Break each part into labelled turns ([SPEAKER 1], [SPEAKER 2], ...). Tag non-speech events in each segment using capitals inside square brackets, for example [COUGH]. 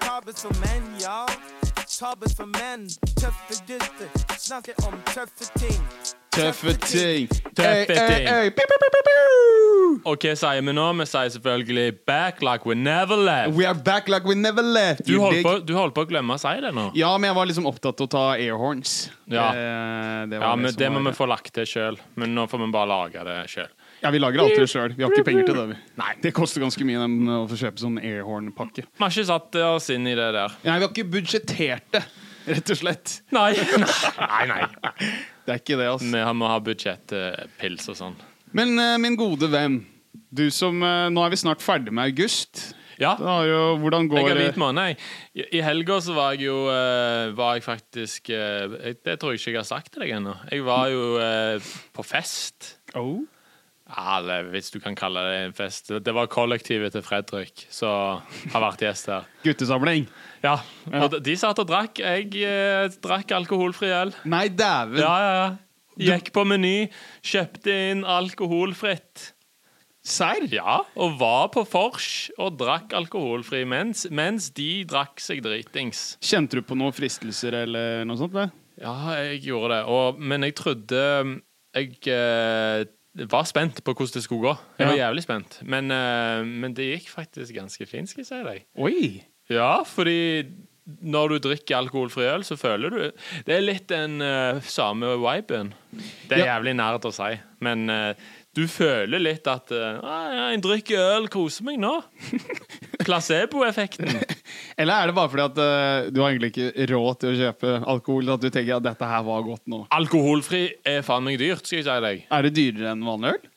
[SPEAKER 1] gentlemen, y'all. Tabbes for menn, tøffe gutter. Snakker om tøffe ting.
[SPEAKER 2] Tøffe ting.
[SPEAKER 3] Tøffe
[SPEAKER 2] Ey, ey,
[SPEAKER 3] ting.
[SPEAKER 2] ey. Pew, pew, pew, pew, pew.
[SPEAKER 3] Og hva sier vi nå? Vi sier selvfølgelig 'back like we never left'.
[SPEAKER 2] We are back like we never left.
[SPEAKER 3] Du
[SPEAKER 2] you
[SPEAKER 3] holdt
[SPEAKER 2] dig.
[SPEAKER 3] på, du holdt på å glemme å si det nå.
[SPEAKER 2] Ja, men jeg var liksom opptatt av å ta airhorns.
[SPEAKER 3] Ja.
[SPEAKER 2] Eh, det var
[SPEAKER 3] Ja, men
[SPEAKER 2] som
[SPEAKER 3] Det må
[SPEAKER 2] var-
[SPEAKER 3] vi få lagt til sjøl. Men nå får vi bare lage det sjøl.
[SPEAKER 2] Ja, Vi lager alltid det sjøl. Vi har ikke penger til det. vi Nei, Det koster ganske mye den, å få kjøpe sånn airhorn-pakke.
[SPEAKER 3] Vi har ikke satt oss inn i det der.
[SPEAKER 2] Nei, Vi har ikke budsjettert det, rett og slett. [LAUGHS]
[SPEAKER 3] Nei, nei. nei.
[SPEAKER 2] Det er ikke det, altså.
[SPEAKER 3] Vi har- må ha budsjettpils og sånn.
[SPEAKER 2] Men eh, min gode venn, du som eh, Nå er vi snart ferdig med august.
[SPEAKER 3] Ja.
[SPEAKER 2] Da har jo, hvordan går eh,
[SPEAKER 3] Jeg er hvit måned, jeg. I- I helga så var jeg jo eh, Var jeg faktisk eh, jeg- Det tror jeg ikke jeg har sagt til deg ennå. Jeg var jo eh, på fest.
[SPEAKER 2] Oh.
[SPEAKER 3] Ja, Eller hvis du kan kalle det en fest. Det var kollektivet til Fredrik som har vært gjest her.
[SPEAKER 2] Guttesamling.
[SPEAKER 3] Ja, og de- De satt og drakk. Jeg eh, drakk alkoholfri øl.
[SPEAKER 2] Nei, dæven.
[SPEAKER 3] Ja, ja, ja. Gikk på Meny, kjøpte inn alkoholfritt.
[SPEAKER 2] Serr?
[SPEAKER 3] Ja, og var på vors og drakk alkoholfri mens, mens de drakk seg dritings.
[SPEAKER 2] Kjente du på noen fristelser eller noe sånt? Det?
[SPEAKER 3] Ja, jeg gjorde det. Og, men jeg trodde Jeg eh, var spent på hvordan det skulle gå. Jeg var
[SPEAKER 2] Ja.
[SPEAKER 3] jævlig spent. Men, eh, men det gikk faktisk ganske fint, skal jeg si deg.
[SPEAKER 2] Oi!
[SPEAKER 3] Ja, fordi når du drikker alkoholfri øl, så føler du Det er litt den eh, samme viben. Det er
[SPEAKER 2] Ja.
[SPEAKER 3] jævlig nært å si, men eh, du føler litt at eh, «Ah, ja, 'Jeg drikker øl, koser
[SPEAKER 2] [LAUGHS]
[SPEAKER 3] meg nå'. Placeboeffekten.
[SPEAKER 2] Eller er det bare fordi at eh, du har egentlig ikke råd til å kjøpe alkohol? At du tenker at dette her var godt nå?
[SPEAKER 3] Alkoholfri er faen meg dyrt, skal jeg si deg.
[SPEAKER 2] Er det dyrere enn vanlig øl?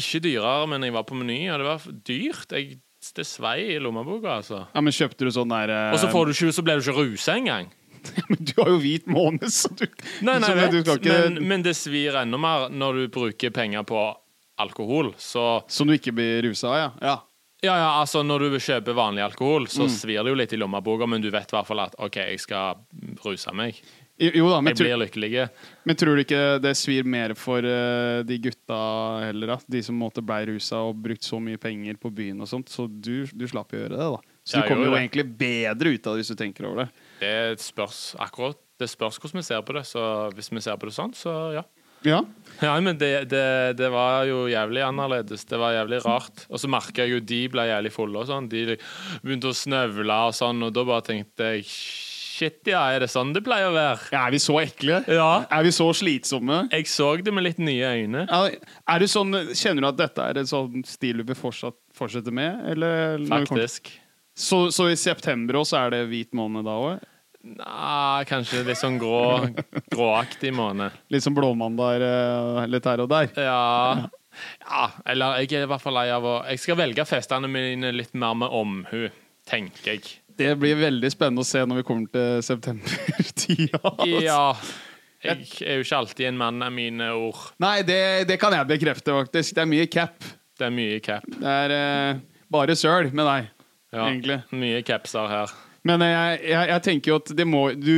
[SPEAKER 3] Ikke dyrere, men jeg var på Meny, og det var f- dyrt. Jeg, det svei i lommeboka, altså.
[SPEAKER 2] Ja, men Kjøpte du sånn der eh,
[SPEAKER 3] Og så,
[SPEAKER 2] [LAUGHS]
[SPEAKER 3] får du ikke, så ble du ikke rusa engang.
[SPEAKER 2] Men du har jo hvit måned, så du
[SPEAKER 3] Nei, nei,
[SPEAKER 2] så
[SPEAKER 3] jeg
[SPEAKER 2] du
[SPEAKER 3] vet,
[SPEAKER 2] skal ikke,
[SPEAKER 3] men, men det svir enda mer når du bruker penger på alkohol. Så
[SPEAKER 2] Som du ikke blir rusa av, ja. ja.
[SPEAKER 3] ja, ja, altså når du kjøper vanlig alkohol, så svir det jo litt i lommeboka, men du vet i hvert fall at OK, jeg skal ruse meg.
[SPEAKER 2] Jo, Jo da, men,
[SPEAKER 3] Jeg
[SPEAKER 2] tru,
[SPEAKER 3] blir lykkelig.
[SPEAKER 2] men tror du ikke det svir mer for eh, de gutta heller, da? De som måtte blei rusa og brukt så mye penger på byen og sånt. Så du, du slapp jo å gjøre det, da. Så du
[SPEAKER 3] Ja, jeg
[SPEAKER 2] kommer
[SPEAKER 3] gjorde
[SPEAKER 2] jo
[SPEAKER 3] det.
[SPEAKER 2] egentlig bedre ut av det hvis du tenker over det.
[SPEAKER 3] Det spørs akkurat Det spørs hvordan vi ser på det. Så hvis vi ser på det sånn, så ja.
[SPEAKER 2] Ja.
[SPEAKER 3] Ja, men det, det, det var jo jævlig annerledes. Det var jævlig rart. Og så merka jeg jo de ble jævlig fulle og sånn. De begynte å snøvle og sånn, og da bare tenkte jeg Shit, ja, er det sånn det pleier å være?
[SPEAKER 2] Er vi så ekle?
[SPEAKER 3] Ja.
[SPEAKER 2] Er vi så slitsomme?
[SPEAKER 3] Jeg så det med litt nye øyne.
[SPEAKER 2] Ja, Er du sånn, Kjenner du at dette er en sånn stil du vil fortsatt, fortsette med? Eller når vi kommer-
[SPEAKER 3] Faktisk.
[SPEAKER 2] Så, så i september også er det hvit måned da òg?
[SPEAKER 3] Nei, kanskje litt sånn grå, gråaktig måned.
[SPEAKER 2] Litt som blåmandag eh, litt her og der?
[SPEAKER 3] Ja. ja. Eller jeg er i hvert fall lei av å Jeg skal velge festene mine litt mer med omhu, tenker jeg.
[SPEAKER 2] Det blir veldig spennende å se når vi kommer til septembertida. [LAUGHS] altså.
[SPEAKER 3] Ja. Jeg er jo ikke alltid en mann av mine ord.
[SPEAKER 2] Nei, det, det kan jeg bekrefte, faktisk. Det er mye cap.
[SPEAKER 3] Det er mye cap.
[SPEAKER 2] Det er eh, bare søl med deg,
[SPEAKER 3] Ja,
[SPEAKER 2] egentlig.
[SPEAKER 3] Mye capser her.
[SPEAKER 2] Men eh, jeg, jeg, jeg tenker jo at det må du,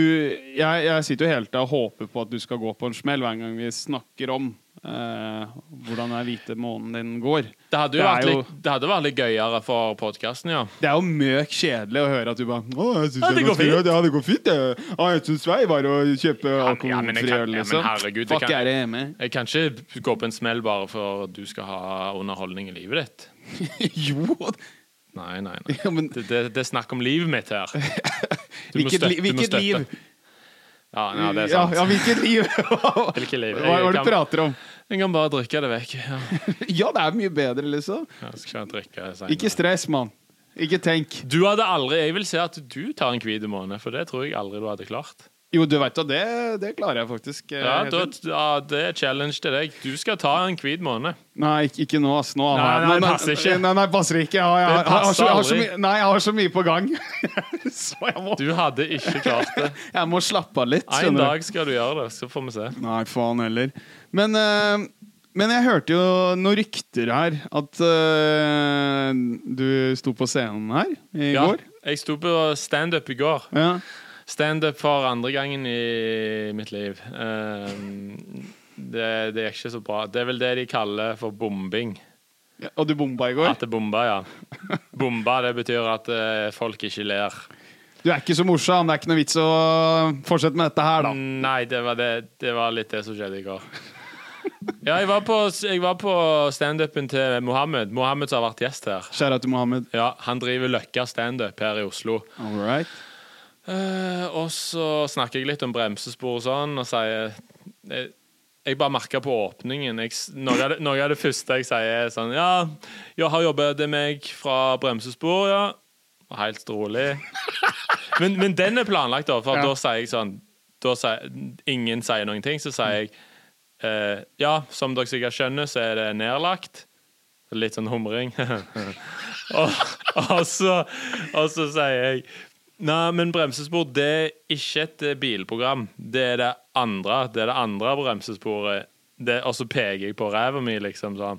[SPEAKER 2] jeg, jeg sitter jo hele tida og håper på at du skal gå på en smell hver gang vi snakker om eh, hvordan den hvite måneden din går.
[SPEAKER 3] Det hadde jo
[SPEAKER 2] Det er
[SPEAKER 3] vært
[SPEAKER 2] jo-
[SPEAKER 3] litt, det hadde vært litt gøyere for podkasten, ja.
[SPEAKER 2] Det er jo møk kjedelig å høre at du bare Å, jeg synes
[SPEAKER 3] Ja, det
[SPEAKER 2] er
[SPEAKER 3] går
[SPEAKER 2] ganske
[SPEAKER 3] fint.
[SPEAKER 2] bra. Ja, det går fint. det. Ja, jeg syns vei var å kjøpe
[SPEAKER 3] men- ja, men jeg
[SPEAKER 2] alkoholfri
[SPEAKER 3] kan-
[SPEAKER 2] øl,
[SPEAKER 3] ja, men
[SPEAKER 2] liksom.
[SPEAKER 3] herregud, det
[SPEAKER 2] Fuck,
[SPEAKER 3] kan-
[SPEAKER 2] er det hjemme? [LAUGHS]
[SPEAKER 3] Jeg kan ikke gå på en smell bare for at du skal ha underholdning i livet ditt.
[SPEAKER 2] jo!
[SPEAKER 3] Nei, nei, nei.
[SPEAKER 2] [LAUGHS] Ja, men
[SPEAKER 3] Det, det, det er snakk om livet mitt her. Du må
[SPEAKER 2] hvilket,
[SPEAKER 3] støtte-
[SPEAKER 2] li-
[SPEAKER 3] du må
[SPEAKER 2] hvilket
[SPEAKER 3] støtte.
[SPEAKER 2] liv?
[SPEAKER 3] Ja, ja, det er
[SPEAKER 2] Ja,
[SPEAKER 3] sant.
[SPEAKER 2] ja, hvilket liv? [LAUGHS] Hva
[SPEAKER 3] Hvilket liv?
[SPEAKER 2] hva er det
[SPEAKER 3] Jeg
[SPEAKER 2] du
[SPEAKER 3] kan,
[SPEAKER 2] prater om?
[SPEAKER 3] jeg kan bare drikke det vekk. Ja,
[SPEAKER 2] Ja, det er mye bedre, liksom.
[SPEAKER 3] jeg skal ikke drikke det
[SPEAKER 2] Ikke
[SPEAKER 3] senere.
[SPEAKER 2] stress, mann. Ikke tenk.
[SPEAKER 3] Du hadde aldri Jeg vil si at du tar en hvit måned, for det tror jeg aldri du hadde klart.
[SPEAKER 2] Jo, du veit jo det. Det klarer jeg faktisk. eh,
[SPEAKER 3] Ja,
[SPEAKER 2] helt
[SPEAKER 3] da,
[SPEAKER 2] fint.
[SPEAKER 3] ja, Det er challenge til deg. Du skal ta en hvit måned.
[SPEAKER 2] Nei, ikke, ikke nå, ass. Nå har
[SPEAKER 3] Nei,
[SPEAKER 2] jeg-
[SPEAKER 3] nei,
[SPEAKER 2] nå-
[SPEAKER 3] passer ikke.
[SPEAKER 2] Nei, nei, passer ikke. Ja, jeg,
[SPEAKER 3] Det
[SPEAKER 2] har- har,
[SPEAKER 3] passer
[SPEAKER 2] så, jeg, har så
[SPEAKER 3] aldri.
[SPEAKER 2] mye- nei, jeg har så mye på gang. [LAUGHS] så jeg må,
[SPEAKER 3] Du hadde ikke klart
[SPEAKER 2] [LAUGHS]
[SPEAKER 3] det.
[SPEAKER 2] jeg må slappe av litt.
[SPEAKER 3] En
[SPEAKER 2] skjønner du.
[SPEAKER 3] dag skal du gjøre det, så får vi se.
[SPEAKER 2] Nei, faen heller. Men, eh, men jeg hørte jo noen rykter her. At eh, du sto på scenen her i
[SPEAKER 3] Ja,
[SPEAKER 2] går.
[SPEAKER 3] jeg sto på standup i går.
[SPEAKER 2] Ja.
[SPEAKER 3] Standup for andre gangen i mitt liv. Ehm, det, det gikk ikke så bra. Det er vel det de kaller for bombing.
[SPEAKER 2] Ja, Og du bomba i går?
[SPEAKER 3] At det bomba, ja. Bomba, det betyr at eh, folk ikke ler.
[SPEAKER 2] Du er ikke så morsom. Det er ikke noe vits å fortsette med dette her, da.
[SPEAKER 3] Nei, det var, det, det var litt det som skjedde i går. Ja, jeg var på, jeg var på standupen til Mohammed. Mohammed som har vært gjest her.
[SPEAKER 2] Kjære til Mohammed.
[SPEAKER 3] Ja, Han driver Løkka standup her i Oslo.
[SPEAKER 2] All right.
[SPEAKER 3] Eh, og så snakker jeg litt om bremsespor og sånn, og sier Jeg, jeg bare merka på åpningen jeg, s- noe, av det, noe av det første jeg sier, er sånn Ja, jeg har jobbet det meg fra bremsespor, ja. Og Helt rolig. Men, men den er planlagt, da, for
[SPEAKER 2] Ja.
[SPEAKER 3] da sier jeg sånn da sier, Ingen sier noen ting, så sier jeg eh, Ja, som dere sikkert skjønner, så er det nedlagt. Litt sånn humring. [LAUGHS] og, [LAUGHS] og, så, og så sier jeg Nei, men bremsespor det er ikke et eh, bilprogram. Det er det andre. Det er det andre bremsesporet. Det, og så peker jeg på ræva mi, liksom sånn.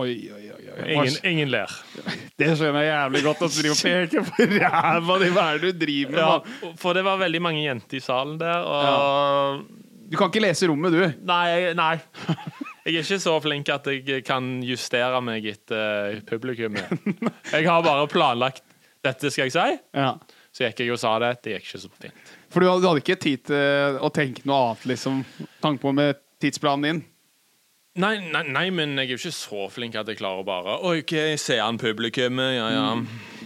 [SPEAKER 2] Oi, oi, oi. oi.
[SPEAKER 3] Ingen, ingen ler.
[SPEAKER 2] Det skjønner jeg jævlig godt. At du [LAUGHS] driver og peker på ræva di. Hva er det du driver med?
[SPEAKER 3] Ja,
[SPEAKER 2] mann?
[SPEAKER 3] for det var veldig mange jenter i salen der, og
[SPEAKER 2] Du kan ikke lese rommet, du.
[SPEAKER 3] Nei, nei. Jeg er ikke så flink at jeg kan justere meg etter eh, [LAUGHS] publikummet. Jeg har bare planlagt 'dette skal jeg si',
[SPEAKER 2] Ja.
[SPEAKER 3] så gikk jeg og sa det. Det gikk ikke så fint.
[SPEAKER 2] For du hadde, du hadde ikke tid til eh, å tenke noe annet, liksom. Tanke på med tidsplanen din.
[SPEAKER 3] Nei, nei, nei, men jeg er jo ikke så flink at jeg klarer å bare «Oi, OK, se an publikummet, ja ja.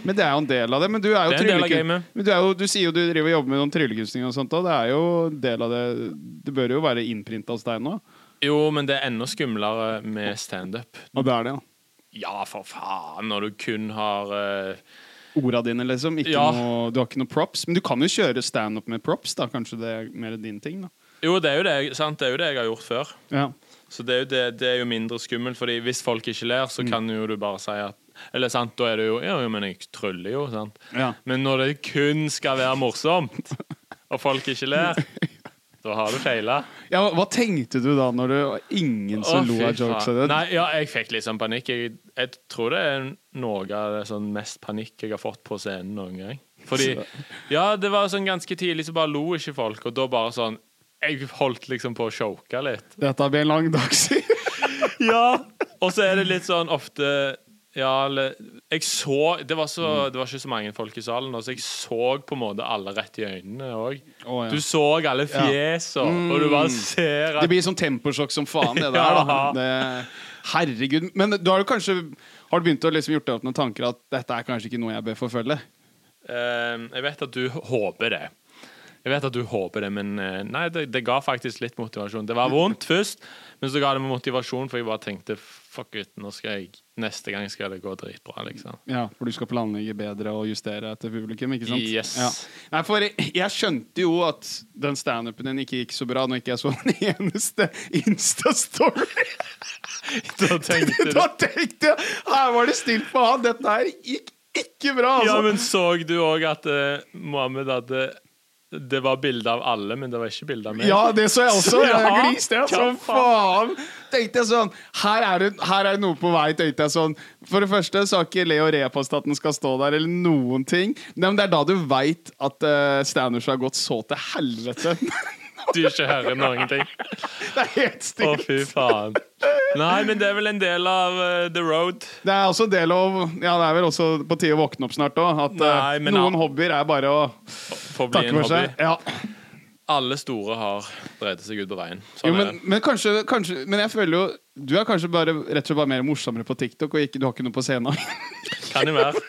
[SPEAKER 2] Men det er jo en del av det. Men du er jo
[SPEAKER 3] Det er en del av
[SPEAKER 2] tryllekun-
[SPEAKER 3] gamet.
[SPEAKER 2] Men du, er jo, du sier jo du driver og jobber med noen tryllekunstning og sånt, og det er jo en del av det. Det bør jo være innprinta hos deg nå.
[SPEAKER 3] Jo, men det er enda skumlere med standup.
[SPEAKER 2] Og det er det, ja.
[SPEAKER 3] Ja, for faen, når du kun har eh,
[SPEAKER 2] Orda dine, liksom. Ikke
[SPEAKER 3] Ja.
[SPEAKER 2] noe, du har ikke noe props. Men du kan jo kjøre standup med props, da. Kanskje det er mer din ting, da.
[SPEAKER 3] Jo, det er jo det, jeg- sant? det er jo det jeg har gjort før.
[SPEAKER 2] Ja.
[SPEAKER 3] Så det er, jo det, det er jo mindre skummelt, Fordi hvis folk ikke ler, så kan jo du bare si at Eller sant, da er det jo Ja, jo, men jeg tryller jo, sant.
[SPEAKER 2] Ja.
[SPEAKER 3] Men når det kun skal være morsomt, og folk ikke ler, da har du feila.
[SPEAKER 2] Ja, hva- hva tenkte du da, når du ingen som lo av jokesa dine?
[SPEAKER 3] Nei, ja, jeg fikk litt sånn panikk. Jeg, jeg tror det er noe av det sånn mest panikk jeg har fått på scenen noen gang. Fordi Ja, det var sånn ganske tidlig, så bare lo ikke folk, og da bare sånn Jeg holdt liksom på å choke litt.
[SPEAKER 2] [LAUGHS] Dette blir en lang dag, si.
[SPEAKER 3] Ja, og så er det litt sånn ofte ja, eller, jeg så, det, var så,
[SPEAKER 2] Mm.
[SPEAKER 3] det var ikke så mange folk i salen, nå, så jeg så på en måte alle rett i øynene òg.
[SPEAKER 2] Å, ja. Mm.
[SPEAKER 3] Du så alle fjesene, og du bare ser
[SPEAKER 2] Det
[SPEAKER 3] at
[SPEAKER 2] blir sånn temposjokk som faen, det der. da.
[SPEAKER 3] Ja.
[SPEAKER 2] Det, herregud. Men du har jo kanskje har du begynt å liksom gjort deg opp noen tanker at dette er kanskje ikke noe jeg bør forfølge?
[SPEAKER 3] Eh, Jeg vet at du håper det. Jeg vet at du håper det, men eh, nei, det, det ga faktisk litt motivasjon. Det var [LAUGHS] vondt først, men så ga det meg motivasjon, for jeg bare tenkte fuck it, nå skal jeg, neste gang skal det gå dritbra, liksom.
[SPEAKER 2] Ja, for du skal planlegge bedre og justere etter publikum, ikke sant?
[SPEAKER 3] Yes.
[SPEAKER 2] Ja. Nei, for jeg, jeg skjønte jo at den standupen din ikke gikk så bra når ikke jeg så den [LAUGHS] eneste Insta-story.
[SPEAKER 3] [LAUGHS] Da [LAUGHS] tenkte du
[SPEAKER 2] [LAUGHS] da tenkte jeg her var det stilt på han, dette her gikk ikke bra, altså.
[SPEAKER 3] Ja, men så du òg at eh, Mohammed hadde Det var bilde av alle, men det var ikke bilde av meg.
[SPEAKER 2] Ja, det så jeg også.
[SPEAKER 3] Så
[SPEAKER 2] Jeg
[SPEAKER 3] ja,
[SPEAKER 2] gliste jeg som
[SPEAKER 3] hva
[SPEAKER 2] faen. Tenkte jeg sånn Her er det, her er det noe på vei, tenkte jeg sånn. For det første så har ikke Leo repost at den skal stå der, eller noen ting. Nei, men det er da du veit at uh, standups har gått så til helvete.
[SPEAKER 3] [LAUGHS]
[SPEAKER 2] [LAUGHS]
[SPEAKER 3] Du ikke hører noen [LAUGHS] ting.
[SPEAKER 2] det er helt
[SPEAKER 3] Å,
[SPEAKER 2] stilt.
[SPEAKER 3] fy faen. Nei, men det er vel en del av eh, the road.
[SPEAKER 2] Det er også del av Ja, det er vel også på tide å våkne opp snart òg. At eh,
[SPEAKER 3] Nei, men
[SPEAKER 2] noen
[SPEAKER 3] ja.
[SPEAKER 2] hobbyer er bare å
[SPEAKER 3] For å bli
[SPEAKER 2] takke
[SPEAKER 3] en
[SPEAKER 2] for
[SPEAKER 3] hobby.
[SPEAKER 2] seg. Ja.
[SPEAKER 3] Alle store har drevet seg ut på veien. Sånn
[SPEAKER 2] Jo,
[SPEAKER 3] er
[SPEAKER 2] men,
[SPEAKER 3] det.
[SPEAKER 2] men kanskje, kanskje Men jeg føler jo Du er kanskje bare, rett og slett bare mer morsommere på TikTok, og ikke, du har ikke noe på scenen.
[SPEAKER 3] Kan jo være.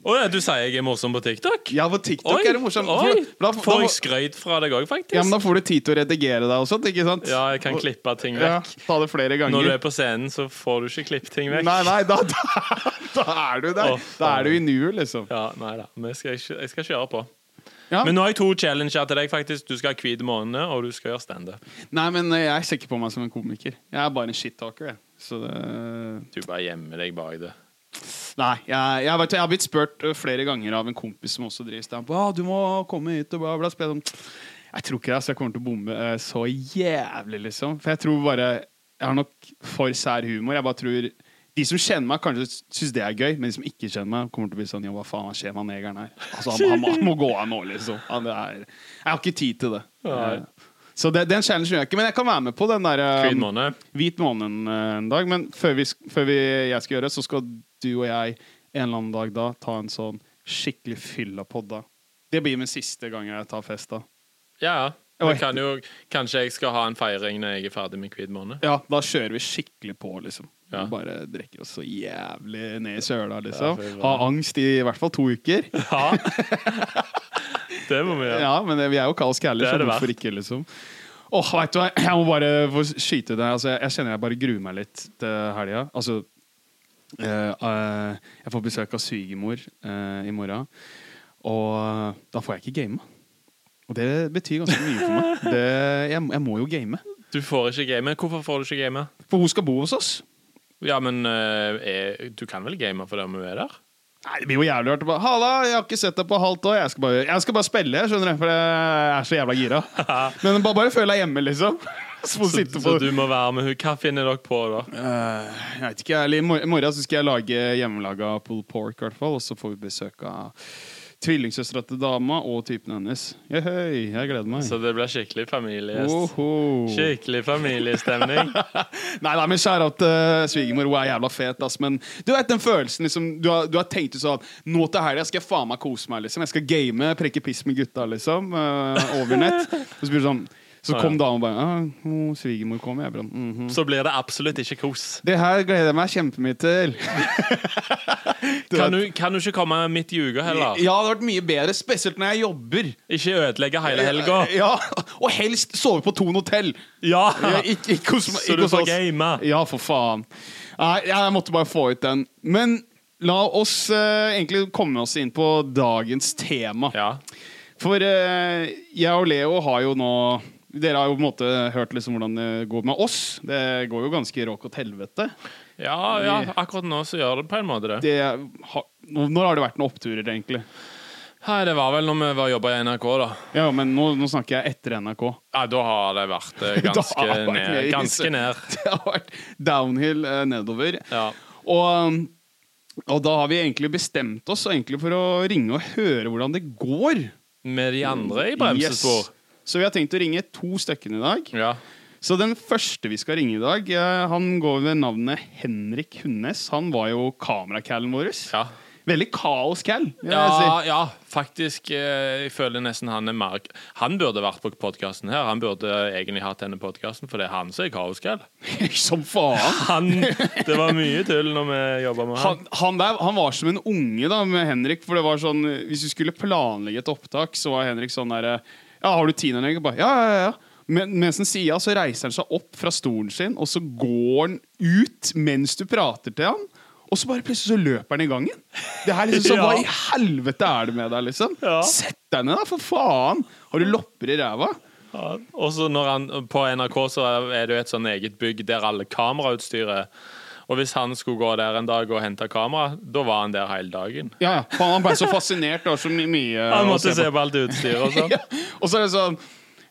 [SPEAKER 3] Å ja, du sier jeg er morsom på TikTok?
[SPEAKER 2] Ja, på TikTok
[SPEAKER 3] Oi,
[SPEAKER 2] er det morsomt.
[SPEAKER 3] oi.
[SPEAKER 2] For da- da-
[SPEAKER 3] Får jeg
[SPEAKER 2] da-
[SPEAKER 3] skryt fra deg òg, faktisk?
[SPEAKER 2] ja, men da får du tid til å redigere deg og sånt, ikke sant?
[SPEAKER 3] Ja, jeg kan klippe ting
[SPEAKER 2] Ja,
[SPEAKER 3] vekk.
[SPEAKER 2] ta det flere ganger.
[SPEAKER 3] Når du er på scenen, så får du ikke klippet ting vekk.
[SPEAKER 2] Nei, nei, da, [LAUGHS] da, da er du der.
[SPEAKER 3] Å,
[SPEAKER 2] da er du i nuet, liksom.
[SPEAKER 3] Ja, nei da. Men jeg skal, ikke, jeg skal kjøre på.
[SPEAKER 2] Ja.
[SPEAKER 3] Men nå har jeg to challenger til deg. faktisk Du skal ha hvit måne, og du skal gjøre standup.
[SPEAKER 2] Nei, men eh, jeg ser ikke på meg som en komiker. Jeg er bare en shit-talker, jeg. Så det
[SPEAKER 3] Du bare gjemmer deg bak det.
[SPEAKER 2] Nei, jeg, jeg, vet, jeg har blitt spurt eh, flere ganger av en kompis som også driver standup. Ah, 'Du må komme hit og bla, bla, spille om.» Jeg tror ikke det, så jeg kommer til å bomme eh, så jævlig, liksom. For jeg tror bare Jeg har nok for sær humor. Jeg bare tror De som kjenner meg, kanskje syns det er gøy, men de som ikke kjenner meg, kommer til å bli sånn Ja, hva faen, hva skjer med han negeren her? Altså, han, han, må- han må gå av nå, liksom. Han, det er, jeg har ikke tid til det.
[SPEAKER 3] Nei.
[SPEAKER 2] Eh, Så det, den challengen gjør jeg ikke, men jeg kan være med på den eh, derre
[SPEAKER 3] Hvit måne.
[SPEAKER 2] Hvit måned eh, en dag, men før, vi, sk- før vi, jeg skal gjøre det, så skal du og jeg en eller annen dag da ta en sånn skikkelig fylla podda. Det blir min siste gang jeg tar fest da.
[SPEAKER 3] Ja, ja.
[SPEAKER 2] Oi.
[SPEAKER 3] Men kan jo, kanskje jeg skal ha en feiring når jeg er ferdig med hvit måned.
[SPEAKER 2] Ja, da kjører vi skikkelig på, liksom.
[SPEAKER 3] Ja.
[SPEAKER 2] Vi Bare drikker oss så jævlig ned i søla, liksom.
[SPEAKER 3] Ja, fy faen.
[SPEAKER 2] Ha angst i i hvert fall to uker.
[SPEAKER 3] Ja. [LAUGHS] Det må vi gjøre.
[SPEAKER 2] Ja, men det- vi er jo kaos kærlig,
[SPEAKER 3] Det
[SPEAKER 2] så
[SPEAKER 3] er det
[SPEAKER 2] hvorfor
[SPEAKER 3] verdt.
[SPEAKER 2] ikke, liksom. Åh, vet du hva, jeg må bare få skyte det. Altså, jeg kjenner jeg bare gruer meg litt til helga. Altså, eh, eh, jeg får besøk av svigermor eh, i morgen, og da får jeg ikke game. Og det betyr ganske mye for meg.
[SPEAKER 3] [LAUGHS]
[SPEAKER 2] Det, jeg, jeg må jo game.
[SPEAKER 3] Du får ikke game. Hvorfor får du ikke game?
[SPEAKER 2] For hun skal bo hos oss.
[SPEAKER 3] Ja, men eh, er, du kan vel game fordi om hun er der?
[SPEAKER 2] Nei, Det blir jo jævlig hardt. å bare, Halla, jeg har ikke sett deg på halvt år. Jeg skal bare, jeg skal bare spille, skjønner du. For jeg er så jævla
[SPEAKER 3] [LAUGHS]
[SPEAKER 2] gira. Men bare, bare føl deg hjemme, liksom. Så,
[SPEAKER 3] Så,
[SPEAKER 2] sitte på.
[SPEAKER 3] så du må være med hun. Hva finner dere på da?
[SPEAKER 2] Eh, jeg vet ikke, eller I mor- i morgen så skal jeg lage hjemmelaga pulled pork, i hvert fall. Og så får vi besøk av tvillingsøstera til dama og typen hennes. Jehøy, jeg gleder meg.
[SPEAKER 3] Så det blir skikkelig familiefest.
[SPEAKER 2] Oho.
[SPEAKER 3] Skikkelig familiestemning.
[SPEAKER 2] Nei, nei, men kjære at eh, svigermor hun er jævla fet, ass. Men du vet den følelsen liksom, du, har, du har tenkt ut sånn Nå til helga skal jeg faen meg kose meg, liksom. Jeg skal game, preke piss med gutta, liksom. eh, over nett. Og så blir det sånn Så kom dama og bare ah, hun Svigermor kommer. Jeg bare [LAUGHS] mhm.
[SPEAKER 3] Så blir det absolutt ikke kos.
[SPEAKER 2] Det her gleder jeg meg kjempemye til. [LAUGHS] Du
[SPEAKER 3] Kan
[SPEAKER 2] vet-
[SPEAKER 3] du, kan du ikke komme midt i uka heller?
[SPEAKER 2] Ja, det hadde vært mye bedre, spesielt når jeg jobber. Eh,
[SPEAKER 3] Ikke ødelegge hele helga.
[SPEAKER 2] Ja, Og helst sove på Thon hotell.
[SPEAKER 3] Ja!
[SPEAKER 2] Ja, ikke, ikke hos,
[SPEAKER 3] Så
[SPEAKER 2] ikke
[SPEAKER 3] du
[SPEAKER 2] hos
[SPEAKER 3] får
[SPEAKER 2] oss.
[SPEAKER 3] game.
[SPEAKER 2] Ja, for faen. Nei, jeg måtte bare få ut den. Men la oss eh, egentlig komme oss inn på dagens tema.
[SPEAKER 3] Ja.
[SPEAKER 2] For eh, jeg og Leo har jo nå Dere har jo på en måte hørt liksom hvordan det går med oss. Det går jo ganske råkott helvete.
[SPEAKER 3] Ja, ja, akkurat nå så gjør det på en måte det.
[SPEAKER 2] Det, har- når har det vært noen oppturer, egentlig?
[SPEAKER 3] Hei, det var vel når vi var jobba i NRK, da.
[SPEAKER 2] Ja, men nå, nå snakker jeg etter NRK.
[SPEAKER 3] Ja, da har det vært eh,
[SPEAKER 2] [LAUGHS] Da
[SPEAKER 3] ganske
[SPEAKER 2] har det vært
[SPEAKER 3] ned.
[SPEAKER 2] ned i
[SPEAKER 3] Ganske
[SPEAKER 2] huset.
[SPEAKER 3] ned.
[SPEAKER 2] [LAUGHS] Det har vært downhill eh, nedover.
[SPEAKER 3] Ja.
[SPEAKER 2] Og, um, og da har vi egentlig bestemt oss egentlig for å ringe og høre hvordan det går.
[SPEAKER 3] Med de andre i bremsespor. Mm.
[SPEAKER 2] Yes. Så vi har tenkt å ringe to stykker i dag.
[SPEAKER 3] Ja.
[SPEAKER 2] Så den første vi skal ringe i dag, eh, han går ved navnet Henrik Hundnes. Han var jo kameracallen vår.
[SPEAKER 3] Ja.
[SPEAKER 2] Veldig kaos-cal. vil jeg
[SPEAKER 3] Ja,
[SPEAKER 2] si. [LAUGHS]
[SPEAKER 3] ja, faktisk. eh, Jeg føler nesten han er mer Han burde vært på podkasten her. Han burde egentlig hatt denne podkasten, for det er han som er kaoskall.
[SPEAKER 2] Som faen.
[SPEAKER 3] Han, det var mye tull når vi jobba med han.
[SPEAKER 2] han, han, der, han var som en unge da med Henrik. For det var sånn Hvis du skulle planlegge et opptak, så var Henrik sånn derre Ja, har du tid, Henrik? Jeg Bare, ja, ja, ja. Men, mens han sier ja, så reiser han seg opp fra stolen sin, og så går han ut mens du prater til han. Og så bare plutselig så løper han i gangen. Det her liksom sånn,
[SPEAKER 3] [LAUGHS] Ja.
[SPEAKER 2] Hva i helvete er det med deg? liksom?
[SPEAKER 3] Ja.
[SPEAKER 2] Sett deg ned, da, for faen! Har du lopper i ræva?
[SPEAKER 3] Ja, Og så når han, på NRK så er det jo et sånn eget bygg der alle kamerautstyret er. Og hvis han skulle gå der en dag og hente kamera, da var han der hele dagen.
[SPEAKER 2] Ja, ja. Faen, han ble så fascinert. Det var så my- mye
[SPEAKER 3] Han
[SPEAKER 2] å
[SPEAKER 3] måtte
[SPEAKER 2] på.
[SPEAKER 3] se på alt utstyret og sånn.
[SPEAKER 2] Ja. Og så er det sånn [LAUGHS]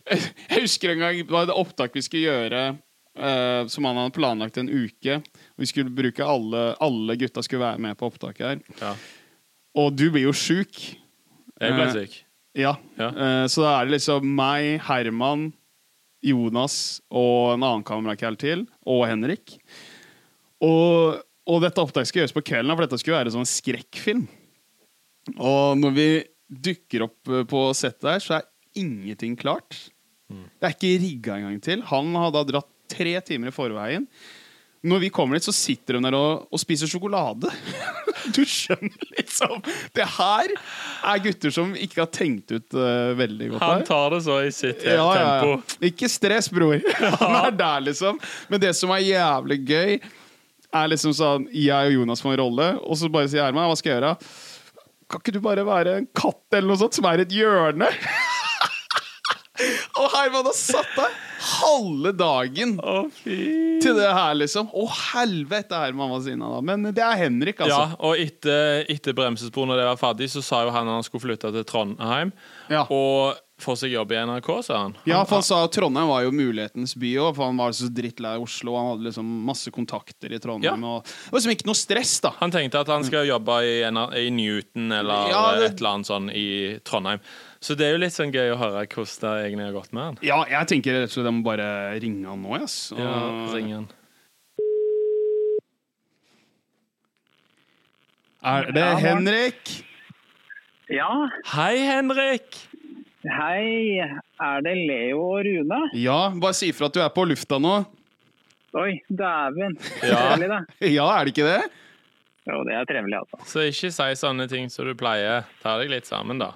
[SPEAKER 2] Jeg husker en gang det var et opptak vi skulle gjøre eh, som han hadde planlagt en uke. Vi skulle bruke alle, alle gutta skulle være med på opptaket her.
[SPEAKER 3] [LAUGHS] Ja.
[SPEAKER 2] Og du blir jo sjuk.
[SPEAKER 3] Jeg ble syk.
[SPEAKER 2] Ja.
[SPEAKER 3] Ja.
[SPEAKER 2] Eh, så da er det liksom meg, Herman, Jonas og en annen kamerakall til, og Henrik. Og, og dette opptaket skal gjøres på kvelden, for dette skulle være sånn skrekkfilm. Og når vi dukker opp eh, på settet her, så er ingenting klart. Det er ikke rigga engang til. Han hadde dratt tre timer i forveien. Når vi kommer dit, så sitter hun der og, og spiser sjokolade. [LAUGHS] Du skjønner liksom Det her er gutter som ikke har tenkt ut eh, veldig godt.
[SPEAKER 3] Han
[SPEAKER 2] her.
[SPEAKER 3] tar det så i sitt eh, tempo.
[SPEAKER 2] Ikke stress, bror. [LAUGHS] Han er der, liksom. Men det som er jævlig gøy, er liksom sånn Jeg og Jonas får en rolle, og så bare sier Herman hva skal jeg gjøre? Kan ikke du bare være en katt eller noe sånt som er i et hjørne? [LAUGHS] og Herman har satt deg halve dagen
[SPEAKER 3] Å, fy
[SPEAKER 2] til det her, liksom. Å, helvete, Herman var sinna da. Men det er Henrik,
[SPEAKER 3] Ja,
[SPEAKER 2] altså.
[SPEAKER 3] og etter, etter bremsespor, når det var ferdig, så sa jo han at han skulle flytte til Trondheim
[SPEAKER 2] Ja.
[SPEAKER 3] og få seg jobb i NRK, sa han.
[SPEAKER 2] Ja, for han sa at Trondheim var jo mulighetens by òg, for han var så drittlei av Oslo. Han hadde liksom masse kontakter i Trondheim.
[SPEAKER 3] Ja.
[SPEAKER 2] Og det var liksom ikke noe stress, da.
[SPEAKER 3] Han tenkte at han skal jobbe i, NR i Newton eller
[SPEAKER 2] Ja, det-
[SPEAKER 3] et eller annet sånn i Trondheim. Så det er jo litt sånn gøy å høre hvordan det egentlig har gått med han.
[SPEAKER 2] Ja, jeg tenker rett og slett jeg må bare ringe han nå, ass. Og...
[SPEAKER 3] Ja, ring han.
[SPEAKER 2] Er det Henrik?
[SPEAKER 4] Ja,
[SPEAKER 3] Hei, Henrik!
[SPEAKER 4] hei. Er det Leo og Rune?
[SPEAKER 2] Ja, bare si ifra at du er på lufta nå. [LAUGHS]
[SPEAKER 4] Oi, dæven.
[SPEAKER 3] Ja.
[SPEAKER 4] Trevelig, det.
[SPEAKER 2] Ja, er det ikke det?
[SPEAKER 4] Jo, det er trevelig, altså.
[SPEAKER 3] Så ikke si sånne ting som du pleier. Ta deg litt sammen, da.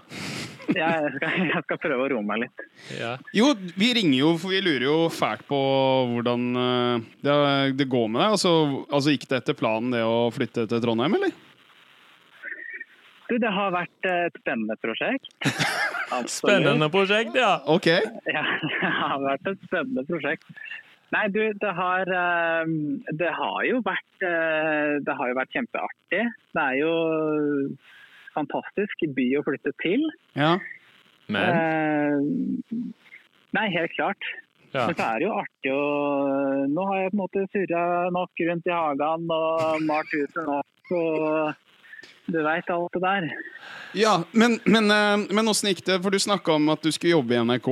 [SPEAKER 4] Jeg skal, jeg skal prøve å roe meg litt.
[SPEAKER 3] Ja.
[SPEAKER 2] Jo, vi ringer jo, for vi lurer jo fælt på hvordan eh, det, det går med deg. Altså, altså, gikk det etter planen det å flytte til Trondheim, eller?
[SPEAKER 4] Du, det har vært et spennende prosjekt. Absolutt.
[SPEAKER 3] Spennende prosjekt, ja.
[SPEAKER 2] Ok.
[SPEAKER 4] Ja, det har vært et spennende prosjekt. Nei, du, det har, eh, det har jo vært eh, Det har jo vært kjempeartig. Det er jo fantastisk by å flytte til.
[SPEAKER 2] Ja.
[SPEAKER 3] Men
[SPEAKER 4] Eh, Nei, helt klart.
[SPEAKER 3] ja.
[SPEAKER 4] Men så er det jo artig å Nå har jeg på en måte surra nok rundt i hagen og malt huset nok og du veit alt det der.
[SPEAKER 2] ja men, men, eh, men åssen gikk det? For du snakka om at du skulle jobbe i NRK.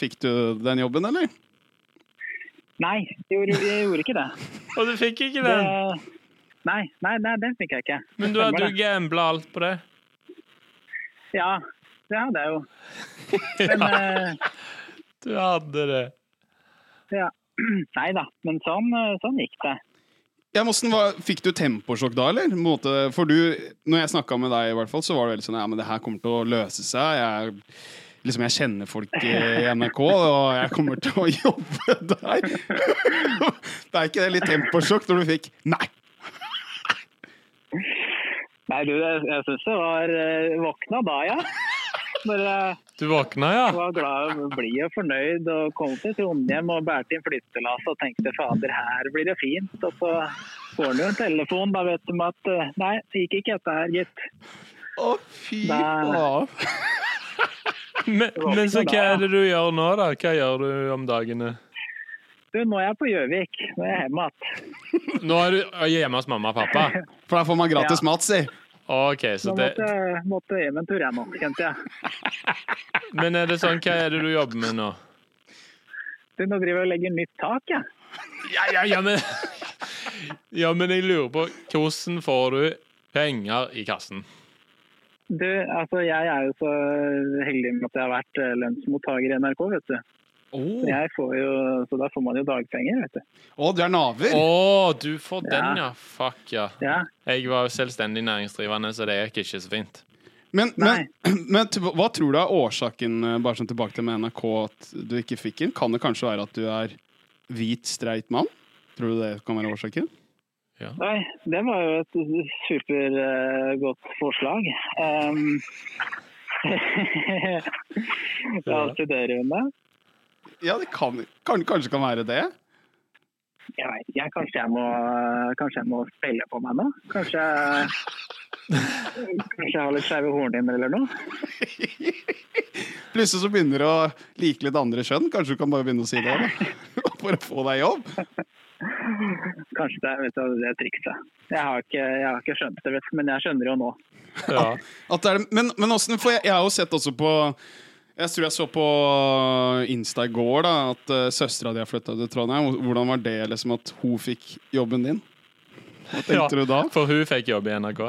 [SPEAKER 2] Fikk du den jobben, eller?
[SPEAKER 4] Nei, jeg gjorde, jeg gjorde ikke det.
[SPEAKER 3] Og du fikk ikke
[SPEAKER 4] det
[SPEAKER 3] den.
[SPEAKER 4] nei, nei, nei, den fikk jeg ikke.
[SPEAKER 3] Men du,
[SPEAKER 4] Stemmer
[SPEAKER 3] du
[SPEAKER 4] det.
[SPEAKER 3] gambla alt på det.
[SPEAKER 4] Ja, det hadde jeg jo. Men, eh,
[SPEAKER 3] Du hadde det.
[SPEAKER 4] ja. [CLEARS THROAT] Nei da, men sånn, eh, sånn gikk det.
[SPEAKER 2] Ja, men hvordan var, Fikk du temposjokk da, eller? På en Måte, for du, når jeg snakka med deg, i hvert fall, så var det veldig sånn Ja, men det her kommer til å løse seg. Jeg, er- liksom, jeg kjenner folk i NRK, og jeg kommer til å [LAUGHS] jobbe der. [LAUGHS] det er ikke det litt temposjokk når du fikk Nei!
[SPEAKER 4] Nei, du, jeg, jeg syns det var eh, Våkna da, ja. Når jeg
[SPEAKER 3] Du våkna, ja?
[SPEAKER 4] var glad, blid og fornøyd og kom til Trondheim og bærte inn flyttelass og tenkte fader, her blir det fint. Og så får du en telefon, da vet de at eh, nei, det gikk ikke dette her, gitt.
[SPEAKER 2] Å, fy
[SPEAKER 4] Nei.
[SPEAKER 2] faen.
[SPEAKER 3] [LAUGHS] Men, men så hva er det du gjør nå, da? Hva gjør du om dagene?
[SPEAKER 4] Du, nå er jeg på Gjøvik. Nå er jeg hjemme igjen.
[SPEAKER 3] Nå er du hjemme hos mamma og pappa?
[SPEAKER 2] For der får man gratis
[SPEAKER 4] Ja.
[SPEAKER 2] mat, si.
[SPEAKER 3] [LAUGHS] OK, så
[SPEAKER 4] Nå
[SPEAKER 3] det
[SPEAKER 4] måtte, jeg- måtte jeg hjem en tur, jeg nå, kjente jeg.
[SPEAKER 3] Men er det sånn, hva er det du jobber med nå?
[SPEAKER 4] Du, nå driver jeg og legger nytt tak, jeg.
[SPEAKER 3] Ja, ja, ja, men [LAUGHS] Ja, men jeg lurer på hvordan får du penger i kassen?
[SPEAKER 4] Du, altså jeg er jo så heldig med at jeg har vært eh, lønnsmottaker i NRK, vet du. Så
[SPEAKER 2] Å,
[SPEAKER 4] Jeg får jo, så da får man jo dagpenger, vet du.
[SPEAKER 2] Å, du er naver?
[SPEAKER 3] Å, du får den, ja. Fuck, ja.
[SPEAKER 4] Ja.
[SPEAKER 3] Jeg var jo selvstendig næringsdrivende, så det gikk ikke så fint.
[SPEAKER 2] Men, men,
[SPEAKER 4] Nei.
[SPEAKER 2] men [CLEARS THROAT] t- hva tror du er årsaken, eh, bare sånn tilbake til med NRK, at du ikke fikk inn? Kan det kanskje være at du er hvit, streit mann? Tror du det kan være årsaken?
[SPEAKER 4] Nei, det var jo et supergodt forslag. Um, [LAUGHS] ja, studerer hun det?
[SPEAKER 2] Ja, det kan, kan kanskje kan være det.
[SPEAKER 4] Jeg vet ikke, jeg- kanskje jeg må, kanskje jeg må spille på meg nå? Kanskje, kanskje jeg har litt skeive hornhinner eller noe?
[SPEAKER 2] Plutselig så begynner du å like litt andre kjønn. Kanskje du kan bare begynne å si det? Da. [LAUGHS] For å få deg jobb?
[SPEAKER 4] Kanskje det, er- vet du, det er trikset. Jeg har ikke, jeg har ikke skjønt det, vet du, men jeg skjønner det jo nå.
[SPEAKER 3] Ja.
[SPEAKER 2] At det er, men, men åssen For jeg, jeg har jo sett også på Jeg tror jeg så på Insta i går da at uh, søstera di har flytta til Trondheim. Hvordan var det liksom at hun fikk jobben din? Hva tenkte
[SPEAKER 3] Ja,
[SPEAKER 2] du da?
[SPEAKER 3] For hun fikk jobb i NRK.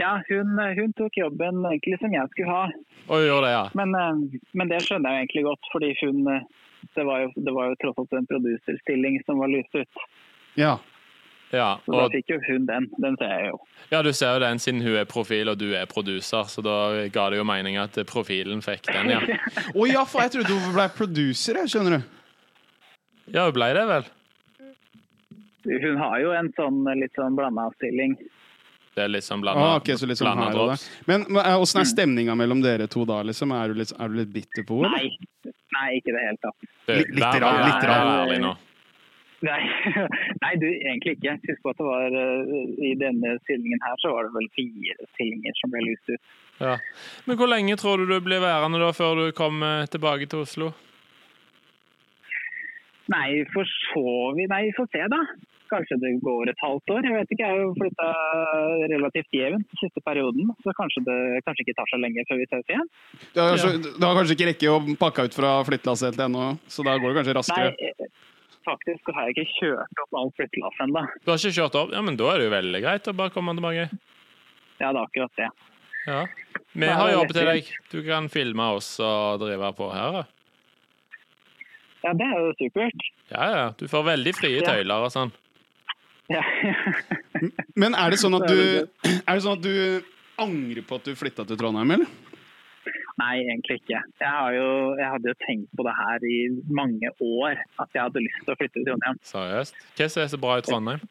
[SPEAKER 4] Ja, hun, hun tok jobben egentlig som jeg skulle ha,
[SPEAKER 3] Og gjorde det, ja.
[SPEAKER 4] men, eh, men det skjønner jeg jo egentlig godt. fordi hun, eh, det, var jo, det var jo tross alt en produserstilling som var lyst ut.
[SPEAKER 2] Ja.
[SPEAKER 3] Ja,
[SPEAKER 4] Så da
[SPEAKER 3] og,
[SPEAKER 4] fikk jo hun den. Den ser jeg jo.
[SPEAKER 3] ja, du ser jo den siden hun er profil og du er produser, så da ga det jo mening at profilen fikk den, ja.
[SPEAKER 2] Å ja, for jeg trodde hun ble producer, jeg, skjønner du.
[SPEAKER 3] Ja, hun ble det vel?
[SPEAKER 4] Hun har jo en sånn eh, litt sånn blanda stilling.
[SPEAKER 3] Det er litt sånn blanda
[SPEAKER 2] Ah, ok, så litt sånn
[SPEAKER 3] blanda
[SPEAKER 2] her og der.
[SPEAKER 3] drops.
[SPEAKER 2] Men men, eh, åssen er stemninga mellom dere to da, liksom? Er du litt, er du litt bitter på henne?
[SPEAKER 4] Nei, nei ikke i det hele tatt. [LAUGHS]
[SPEAKER 3] Du,
[SPEAKER 2] Litt- litt
[SPEAKER 3] vær-
[SPEAKER 2] rann,
[SPEAKER 3] vær-
[SPEAKER 4] litt
[SPEAKER 3] vær
[SPEAKER 4] rann.
[SPEAKER 3] ærlig nå.
[SPEAKER 4] Nei, nei du, egentlig ikke. Husk på at det var eh, i denne stillingen her så var det vel fire stillinger som ble lyst ut.
[SPEAKER 3] Ja. Men hvor lenge tror du du blir værende da før du kommer tilbake til Oslo?
[SPEAKER 4] Nei, for så vidt. Nei, vi får se, da. Kanskje det går et halvt år. Jeg vet ikke, jeg har jo flytta relativt jevnt siste perioden. Så kanskje det kanskje ikke tar så lenge før vi ses igjen.
[SPEAKER 2] Du har, kanskje, du altså, har kanskje ikke rekke å pakke ut fra flyttelasset helt ennå, så da går det kanskje
[SPEAKER 4] Nei,
[SPEAKER 2] raskere.
[SPEAKER 4] eh, faktisk så har jeg ikke kjørt opp alt flyttelass ennå.
[SPEAKER 3] Du har ikke kjørt opp? Ja, men da er det jo veldig greit å bare komme tilbake.
[SPEAKER 4] Ja, det er akkurat det.
[SPEAKER 3] Ja. Vi har jobb til deg. Du kan filme oss og drive på her. da.
[SPEAKER 4] Ja, det er jo supert.
[SPEAKER 3] Ja, ja. Du får veldig frie
[SPEAKER 4] Ja.
[SPEAKER 3] tøyler og sånn.
[SPEAKER 4] Ja. [LAUGHS]
[SPEAKER 2] Men er det sånn at
[SPEAKER 4] Det
[SPEAKER 2] du,
[SPEAKER 4] er
[SPEAKER 2] [CLEARS THROAT] er det sånn at du angrer på at du flytta til Trondheim, eller?
[SPEAKER 4] Nei, egentlig ikke. Jeg, har jo, jeg hadde jo tenkt på det her i mange år, at jeg hadde lyst til å flytte til Trondheim.
[SPEAKER 3] Seriøst. Hva som er så bra i Trondheim?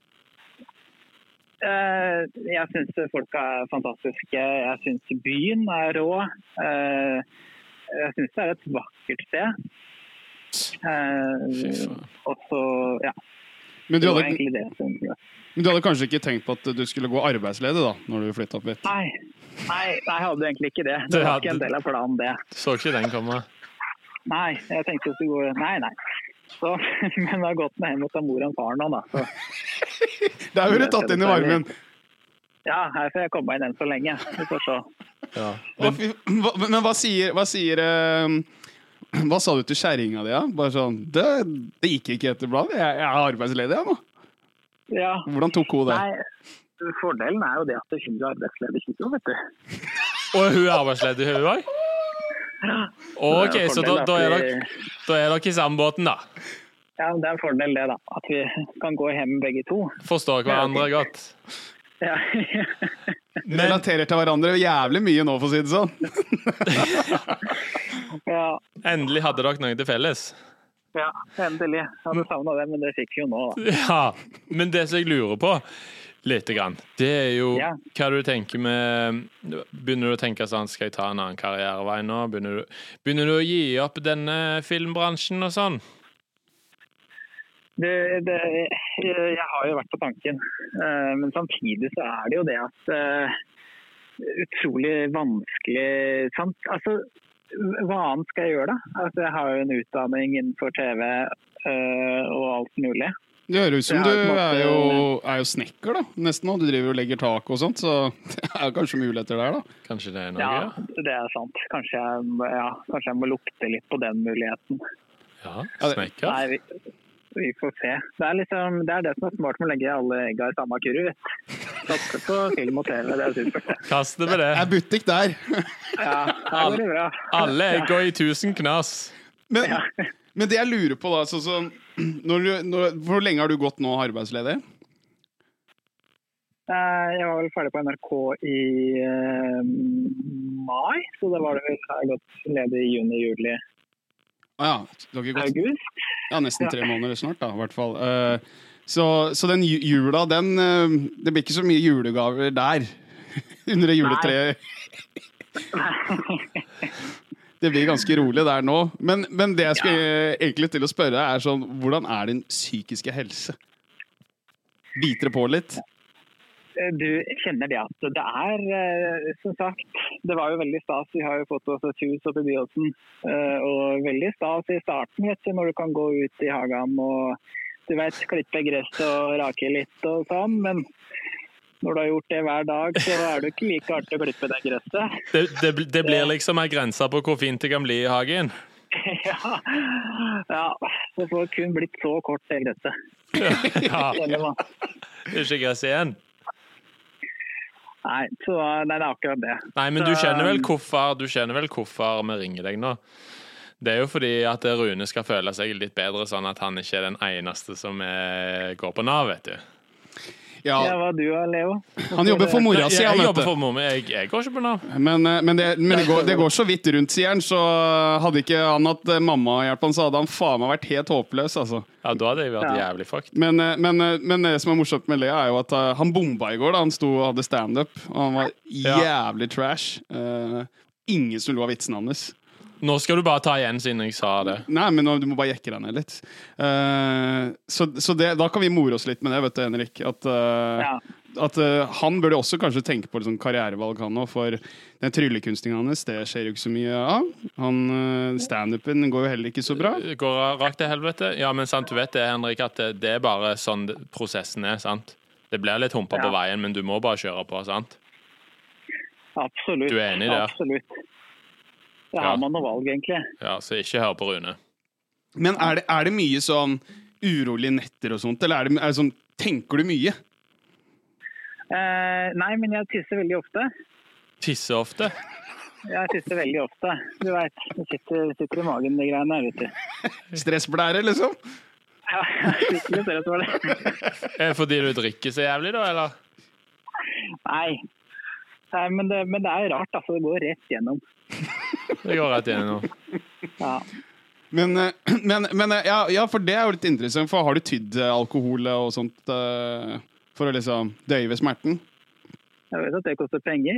[SPEAKER 4] Eh, Jeg syns folk er fantastiske. Jeg syns byen er rå. Eh, Jeg syns det er et vakkert sted.
[SPEAKER 3] Fy
[SPEAKER 4] Eh,
[SPEAKER 3] faen.
[SPEAKER 4] Og så, ja.
[SPEAKER 2] Men du,
[SPEAKER 4] Det var
[SPEAKER 2] hadde,
[SPEAKER 4] egentlig det som
[SPEAKER 2] men du hadde kanskje ikke tenkt på at du skulle gå arbeidsledig da, når du flytta opp hit?
[SPEAKER 4] Nei, nei, nei, jeg hadde egentlig ikke det.
[SPEAKER 3] Du
[SPEAKER 4] Det var
[SPEAKER 3] hadde-
[SPEAKER 4] ikke en del av planen, det.
[SPEAKER 3] Så ikke den komme.
[SPEAKER 4] Nei, jeg tenkte at det går Nei, nei. Så, [LAUGHS] men det har gått meg hjem og ta mor og far nå, da. Så,
[SPEAKER 2] Der ble du tatt inn i varmen!
[SPEAKER 4] ja, her får jeg komme meg inn enn så lenge. Vi får se.
[SPEAKER 3] Ja.
[SPEAKER 2] Hva, fy- [CLEARS THROAT] hva, men hva sier, hva sier eh, [CLEARS THROAT] Hva sa du til kjerringa di, da? Bare sånn det, det gikk ikke etter bladet. Jeg, jeg er arbeidsledig, jeg nå.
[SPEAKER 4] Ja.
[SPEAKER 2] Hvordan tok hun det?
[SPEAKER 4] Nei, fordelen er jo det at hun er arbeidsledig ikke sant, vet du.
[SPEAKER 3] Og hun er arbeidsledig, hun òg? OK,
[SPEAKER 4] Det er en
[SPEAKER 3] så da,
[SPEAKER 4] fordel
[SPEAKER 3] da, er dere,
[SPEAKER 4] at vi-
[SPEAKER 3] da er dere i samme båten, da.
[SPEAKER 4] Ja, det er en fordel det, da. At vi kan gå hjem begge to. [LAUGHS]
[SPEAKER 3] Forstår hverandre godt.
[SPEAKER 4] Ja.
[SPEAKER 2] Men, Relaterer til hverandre jævlig mye nå, for å si det sånn.
[SPEAKER 4] ja.
[SPEAKER 3] Endelig hadde dere noe til felles.
[SPEAKER 4] ja endelig. Jeg hadde savna det, men det fikk vi jo nå, da.
[SPEAKER 3] Ja, Men det som jeg lurer på lite grann, det er jo
[SPEAKER 4] Ja.
[SPEAKER 3] hva du tenker med Begynner du å tenke sånn Skal jeg ta en annen karrierevei nå? Begynner du, begynner du å gi opp denne filmbransjen og sånn?
[SPEAKER 4] Det, det, jeg har jo vært på tanken, Eh, men samtidig så er det jo det at eh, Utrolig vanskelig sant? Altså, hva annet skal jeg gjøre, da? Altså, jeg har jo en utdanning innenfor TV eh, og alt mulig.
[SPEAKER 2] Det høres ut som
[SPEAKER 4] Det
[SPEAKER 2] du
[SPEAKER 4] er på en
[SPEAKER 2] er
[SPEAKER 4] måte-
[SPEAKER 2] jo, er jo snekker, da. Nesten nå. Du driver og legger tak og sånt, så [LAUGHS] det er kanskje muligheter der, da.
[SPEAKER 3] Kanskje det er noe?
[SPEAKER 4] Ja, det er sant. Kanskje jeg, ja, kanskje jeg må lukte litt på den muligheten.
[SPEAKER 3] Ja,
[SPEAKER 2] Ja, det-
[SPEAKER 3] snekker.
[SPEAKER 4] Nei, vi, vi får se. Det er, liksom, det er det som er smart med å legge alle egga i samme kurv. vet du. Satse på film og TV, det er supert.
[SPEAKER 3] Kast det på det.
[SPEAKER 2] Det er butikk der. [LAUGHS]
[SPEAKER 4] Ja, det går det bra.
[SPEAKER 3] Alle egga i tusen knas.
[SPEAKER 2] Men, men det jeg lurer på, da sånn som [CLEARS THROAT] når du, når, Hvor lenge har du gått nå arbeidsledig?
[SPEAKER 4] Eh, Jeg var vel ferdig på NRK i eh, mai, så da var det vel her godt ledig i juni-juli.
[SPEAKER 2] Å ah, ja. Du har ikke gått
[SPEAKER 4] August?
[SPEAKER 2] Ja, nesten tre måneder snart, da, i hvert fall. Eh, så, så den ju- jula, den eh, Det blir ikke så mye julegaver der. [LAUGHS] Under det juletreet. [LAUGHS] Det blir ganske rolig der nå. Men, men det jeg skulle eh, egentlig til å spørre, er sånn Hvordan er din psykiske helse? Biter det på litt?
[SPEAKER 4] Eh, Du kjenner det at det er, eh, som sagt, det var jo veldig stas. Vi har jo fått oss et hus oppe i Byåsen. eh, Og veldig stas i starten, vet du, når du kan gå ut i hagen og du vet, klippe gress og rake litt og sånn. Men når du har gjort det hver dag, så er det jo ikke like artig å klippe det gresset. [LAUGHS]
[SPEAKER 3] Det, det, det blir liksom ei grense på hvor fint det kan bli i hagen.
[SPEAKER 2] [LAUGHS]
[SPEAKER 4] Ja, ja det får kun blitt så kort det gresset.
[SPEAKER 3] [LAUGHS] Ja,
[SPEAKER 4] Kjenner man.
[SPEAKER 3] det er ikke gress igjen.
[SPEAKER 4] Nei, så, nei, det er akkurat det.
[SPEAKER 3] Nei, men du skjønner vel hvorfor Du skjønner vel hvorfor vi ringer deg nå? Det er jo fordi at Rune skal føle seg litt bedre, sånn at han ikke er den eneste som eh, går på Nav, vet du.
[SPEAKER 4] Ja,
[SPEAKER 2] Ja,
[SPEAKER 4] hva du og Leo?
[SPEAKER 2] han jobber for mora
[SPEAKER 3] jeg,
[SPEAKER 2] si, han,
[SPEAKER 3] jeg
[SPEAKER 2] vet
[SPEAKER 3] jobber
[SPEAKER 2] du.
[SPEAKER 3] for mor, men jeg, jeg går ikke på Nav.
[SPEAKER 2] Men, eh, men, det, men det, går, det går så vidt rundt, sier han. Så hadde ikke han hatt eh, mammahjelp, han, så hadde han faen meg vært helt håpløs, altså.
[SPEAKER 3] Ja, Da hadde jeg vært
[SPEAKER 4] Ja.
[SPEAKER 3] jævlig fucked.
[SPEAKER 2] Men, eh, men, eh, men det som er morsomt med Lea, er jo at eh, han bomba i går. da Han sto og hadde standup, og han var
[SPEAKER 3] Ja.
[SPEAKER 2] jævlig trash. Eh, ingen som lo av vitsene hans.
[SPEAKER 3] Nå skal du bare ta igjen siden jeg sa det.
[SPEAKER 2] Nei, men nå, du må bare jekke deg ned litt. Eh, så så det, da kan vi more oss litt med det, vet du, Henrik. At, eh,
[SPEAKER 4] Ja.
[SPEAKER 2] at eh, han burde også kanskje tenke på liksom, karrierevalg, han òg. For den tryllekunstningen hans, det skjer jo ikke så mye av. Han, eh, Standupen går jo heller ikke så bra.
[SPEAKER 3] Går rakt til helvete. Ja, men sant, du vet det, Henrik, at det, det er bare sånn det- prosessen er, sant? Det blir litt humpa på
[SPEAKER 4] Ja.
[SPEAKER 3] veien, men du må bare kjøre på, sant?
[SPEAKER 4] Absolutt.
[SPEAKER 3] Du er enig i det?
[SPEAKER 4] Absolutt.
[SPEAKER 3] Ja.
[SPEAKER 4] Da har man noe valg, egentlig.
[SPEAKER 3] Ja, Så ikke hør på Rune.
[SPEAKER 2] Men er det, er det mye sånn urolige netter og sånt, eller er det, er det sånn Tenker du mye?
[SPEAKER 4] Eh, nei, men jeg tisser veldig ofte.
[SPEAKER 3] tisser ofte.
[SPEAKER 4] Jeg tisser veldig ofte. Du veit. Det sitter, sitter i magen, de greiene her, vet du. [LAUGHS]
[SPEAKER 2] Stressblære, liksom?
[SPEAKER 4] Ja, jeg husker det, ser ut som det.
[SPEAKER 3] Er det fordi du drikker så jævlig, da, eller?
[SPEAKER 4] Nei. Nei men, det, men det er jo rart, altså. Det går rett gjennom.
[SPEAKER 3] Det går rett igjennom.
[SPEAKER 4] Ja.
[SPEAKER 2] Men, eh, [CLEARS THROAT] men, men eh, ja, ja, for det er jo litt interessant. For har du tydd eh, alkohol og sånt eh, for å liksom døyve smerten?
[SPEAKER 4] Jeg vet at det koster penger.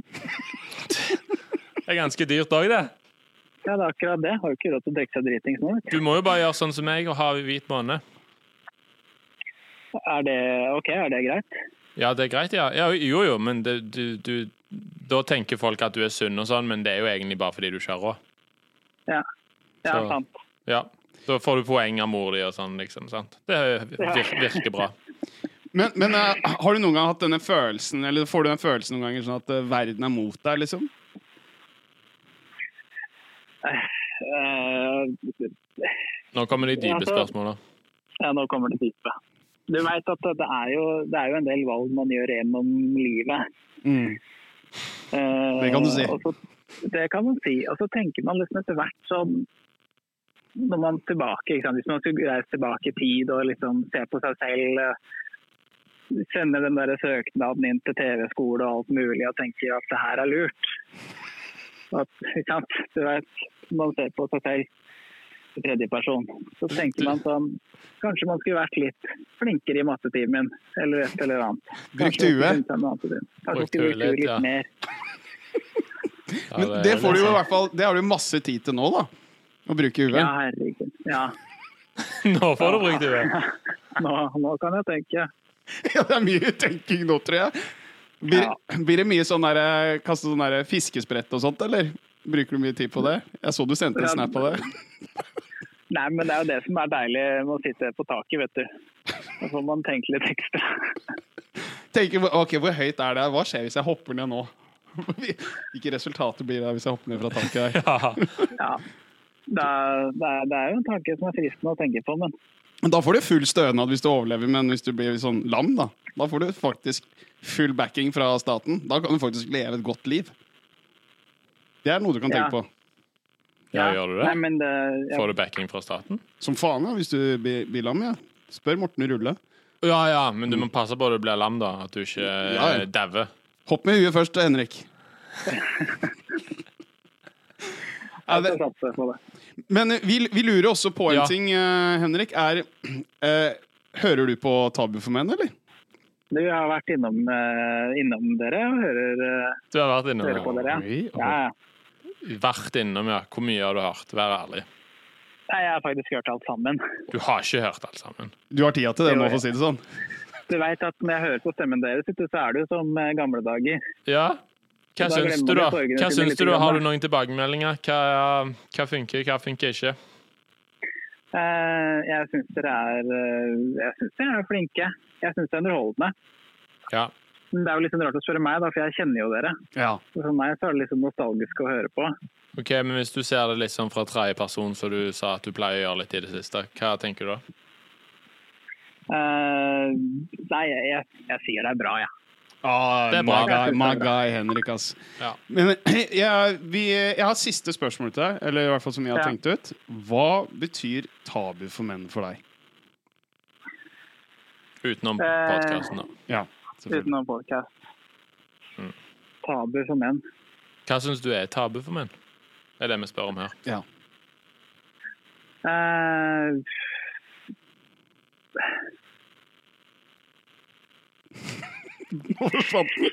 [SPEAKER 3] Det er ganske dyrt òg, det.
[SPEAKER 4] Ja, det er akkurat det. Har jo ikke råd til å drikke seg dritings nå. vet
[SPEAKER 3] Du må jo bare gjøre sånn som meg og ha hvit måne.
[SPEAKER 4] du. Er det OK, er det greit?
[SPEAKER 3] Ja, det er greit, ja. ja jo, jo, men det, du, du Da tenker folk at du er sunn og sånn, men det er jo egentlig bare fordi du ikke har råd.
[SPEAKER 4] Ja. Ja,
[SPEAKER 3] Så-
[SPEAKER 4] sant.
[SPEAKER 3] Ja. Da får du poeng av mor di og sånn, liksom. sant? Det vir- virker bra.
[SPEAKER 2] Men, men eh, har du noen gang hatt denne følelsen Eller får du den følelsen noen ganger sånn at eh, verden er mot deg, liksom?
[SPEAKER 4] Eh,
[SPEAKER 3] Nå kommer de dype spørsmålene.
[SPEAKER 4] Ja, nå kommer det dype. Du veit at det er, jo, det er jo en del valg man gjør gjennom livet. Eh,
[SPEAKER 2] Mm. Det kan du si.
[SPEAKER 4] og Så, det kan man si. Og så tenker man liksom etter hvert sånn når man tilbake, ikke sant? Hvis man skulle reise tilbake i tid og liksom se på seg selv eh, Sende den der søknaden inn til TV-skole og alt mulig og tenke at det her er lurt. At, ikke sant? Du vet, man ser på seg selv i tredjeperson. Så tenker man sånn Kanskje man skulle vært litt flinkere i mattetimen, eller et eller annet.
[SPEAKER 2] Brukt
[SPEAKER 4] Kanskje man skulle
[SPEAKER 2] huet.
[SPEAKER 4] funnet seg noe annet å gjøre. Kanskje man
[SPEAKER 3] Brukt
[SPEAKER 4] skulle
[SPEAKER 3] huet
[SPEAKER 4] brukt huet
[SPEAKER 3] litt,
[SPEAKER 4] litt
[SPEAKER 3] ja.
[SPEAKER 4] mer.
[SPEAKER 3] Ja,
[SPEAKER 2] Men
[SPEAKER 3] er liksom-
[SPEAKER 2] det får du jo i
[SPEAKER 3] sant.
[SPEAKER 2] hvert fall Det har du jo masse tid til nå, da. Å bruke
[SPEAKER 4] Ja,
[SPEAKER 2] huet.
[SPEAKER 4] herregud. Ja.
[SPEAKER 3] [LAUGHS] Nå får du brukt huet.
[SPEAKER 4] Nå, nå kan jeg tenke.
[SPEAKER 2] [LAUGHS] Ja, det er mye tenking nå, tror jeg. Blir,
[SPEAKER 4] Ja.
[SPEAKER 2] blir det mye sånn derre Kaste sånn derre fiskesprett og sånt, eller? Bruker du mye tid på det? Jeg så du sendte en
[SPEAKER 4] Ja.
[SPEAKER 2] snap på det.
[SPEAKER 4] Nei, men det er jo det som er deilig med å sitte på taket, vet du. Da får man tenke litt ekstra.
[SPEAKER 2] Tenker, ok, Hvor høyt er det? her? Hva skjer hvis jeg hopper ned nå? [LAUGHS] Hvilke resultater blir det hvis jeg hopper ned fra taket? her?
[SPEAKER 3] Ja.
[SPEAKER 4] Ja. Det er, det, er, det er jo en tanke som er fristende å tenke på, men
[SPEAKER 2] Men Da får du full stønad hvis du overlever, men hvis du blir sånn lam, da Da får du faktisk full backing fra staten. Da kan du faktisk leve et godt liv. Det er noe du kan
[SPEAKER 4] Ja.
[SPEAKER 2] tenke på.
[SPEAKER 3] ja, gjør du
[SPEAKER 4] Nei,
[SPEAKER 3] det?
[SPEAKER 4] men det, ja.
[SPEAKER 3] Får du backing fra staten?
[SPEAKER 2] Som faen, ja, hvis du blir, blir lam, ja. Spør Morten Rulle.
[SPEAKER 3] Ja, ja, men du må passe på at du blir lam, da. At du ikke
[SPEAKER 2] Ja, ja.
[SPEAKER 3] eh, dauer.
[SPEAKER 2] Hopp med huet først, Henrik. [LAUGHS] Ja,
[SPEAKER 4] jeg
[SPEAKER 2] det,
[SPEAKER 4] skal satse på det.
[SPEAKER 2] men vi, vi lurer også på en
[SPEAKER 3] Ja.
[SPEAKER 2] ting, eh, Henrik. Er eh, Hører du på Tabu for menn, eller?
[SPEAKER 4] Du har vært innom, eh, innom dere og hører, eh,
[SPEAKER 3] Du har vært innom
[SPEAKER 4] hører på dere.
[SPEAKER 2] Oi,
[SPEAKER 4] Ja, ja.
[SPEAKER 3] Vært innom, ja. Hvor mye har du hørt? Vær ærlig.
[SPEAKER 4] Nei, jeg har faktisk hørt alt sammen.
[SPEAKER 3] Du har ikke hørt alt sammen.
[SPEAKER 2] Du har tida til det
[SPEAKER 4] Jo,
[SPEAKER 2] nå,
[SPEAKER 4] ja.
[SPEAKER 2] for å si det sånn.
[SPEAKER 4] Du veit at når jeg hører på stemmen deres, vet du, så er det jo som eh, gamle dager.
[SPEAKER 3] Ja. Hva
[SPEAKER 4] Da
[SPEAKER 3] syns
[SPEAKER 4] glemmer
[SPEAKER 3] du,
[SPEAKER 4] vi
[SPEAKER 3] da?
[SPEAKER 4] sorgene
[SPEAKER 3] Hva
[SPEAKER 4] sine
[SPEAKER 3] syns
[SPEAKER 4] litt
[SPEAKER 3] du da? Har
[SPEAKER 4] grann,
[SPEAKER 3] du noen tilbakemeldinger? Hva, hva funker, hva funker ikke?
[SPEAKER 4] Eh, Jeg syns dere er eh, Jeg synes dere er flinke. Jeg syns det er underholdende.
[SPEAKER 3] Ja.
[SPEAKER 4] Men det er jo litt sånn rart å spørre meg, da, for jeg kjenner jo dere.
[SPEAKER 2] Ja.
[SPEAKER 4] Så For meg så er det liksom nostalgisk å høre på.
[SPEAKER 3] OK, men hvis du ser det litt sånn fra tredje person, som du sa at du pleier å gjøre litt i det siste, hva tenker du da?
[SPEAKER 4] Eh, Nei, jeg, jeg, jeg sier det er bra, jeg. Ja.
[SPEAKER 2] Ah,
[SPEAKER 3] Det er bra.
[SPEAKER 2] my guy, my guy, Henrik, ass.
[SPEAKER 3] Ja.
[SPEAKER 2] Men [CLEARS THROAT] jeg, vi, jeg har siste spørsmål til deg, eller i hvert fall som jeg har
[SPEAKER 4] Ja.
[SPEAKER 2] tenkt ut. Hva betyr tabu for menn for deg?
[SPEAKER 3] Utenom
[SPEAKER 4] Eh.
[SPEAKER 3] podkasten, da.
[SPEAKER 2] Ja, selvfølgelig.
[SPEAKER 4] Utenom podkast.
[SPEAKER 3] Mm.
[SPEAKER 4] Tabu for menn.
[SPEAKER 3] Hva syns du er tabu for menn? Det er det vi spør om her.
[SPEAKER 2] Ja. [LAUGHS]
[SPEAKER 4] Eh,
[SPEAKER 2] Nå forsvant den.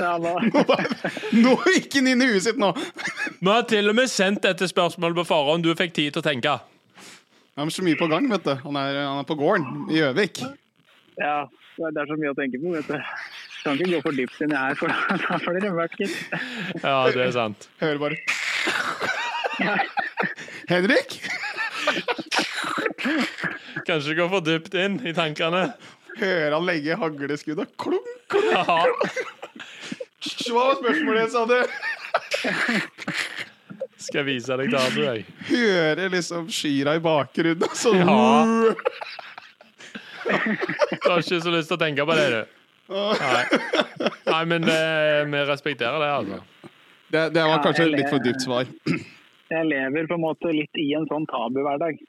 [SPEAKER 4] ja, hva?
[SPEAKER 3] [LAUGHS]
[SPEAKER 2] Nå gikk den inn i huet sitt nå!
[SPEAKER 3] Vi har til og med sendt dette spørsmålet på forhånd. Du fikk tid til å tenke.
[SPEAKER 2] Han er så mye på gang, vet du. Han er, han er på gården i Gjøvik.
[SPEAKER 4] Ja, det er så mye å tenke på, vet du. Kan ikke gå for dypt inn i her, for [LAUGHS] da- da får dere mørkt. gitt.
[SPEAKER 3] Ja, det er sant.
[SPEAKER 2] Hører bare Henrik!
[SPEAKER 3] Kanskje gå for dypt inn i tankene.
[SPEAKER 2] Hører han legge hagleskuddet? Klung, klung!
[SPEAKER 3] Haha.
[SPEAKER 2] Hva var spørsmålet, sa du?
[SPEAKER 3] Skal jeg vise deg tabu, jeg.
[SPEAKER 2] Hører liksom skyra i bakgrunnen, og så
[SPEAKER 3] Ja. Du har ikke så lyst til å tenke på det, du. Nei, Nei men eh, vi respekterer det, altså.
[SPEAKER 2] Det, det var
[SPEAKER 4] Ja,
[SPEAKER 2] kanskje
[SPEAKER 4] eller-
[SPEAKER 2] litt for dypt svar.
[SPEAKER 4] Jeg lever på en måte litt i en sånn tabuhverdag.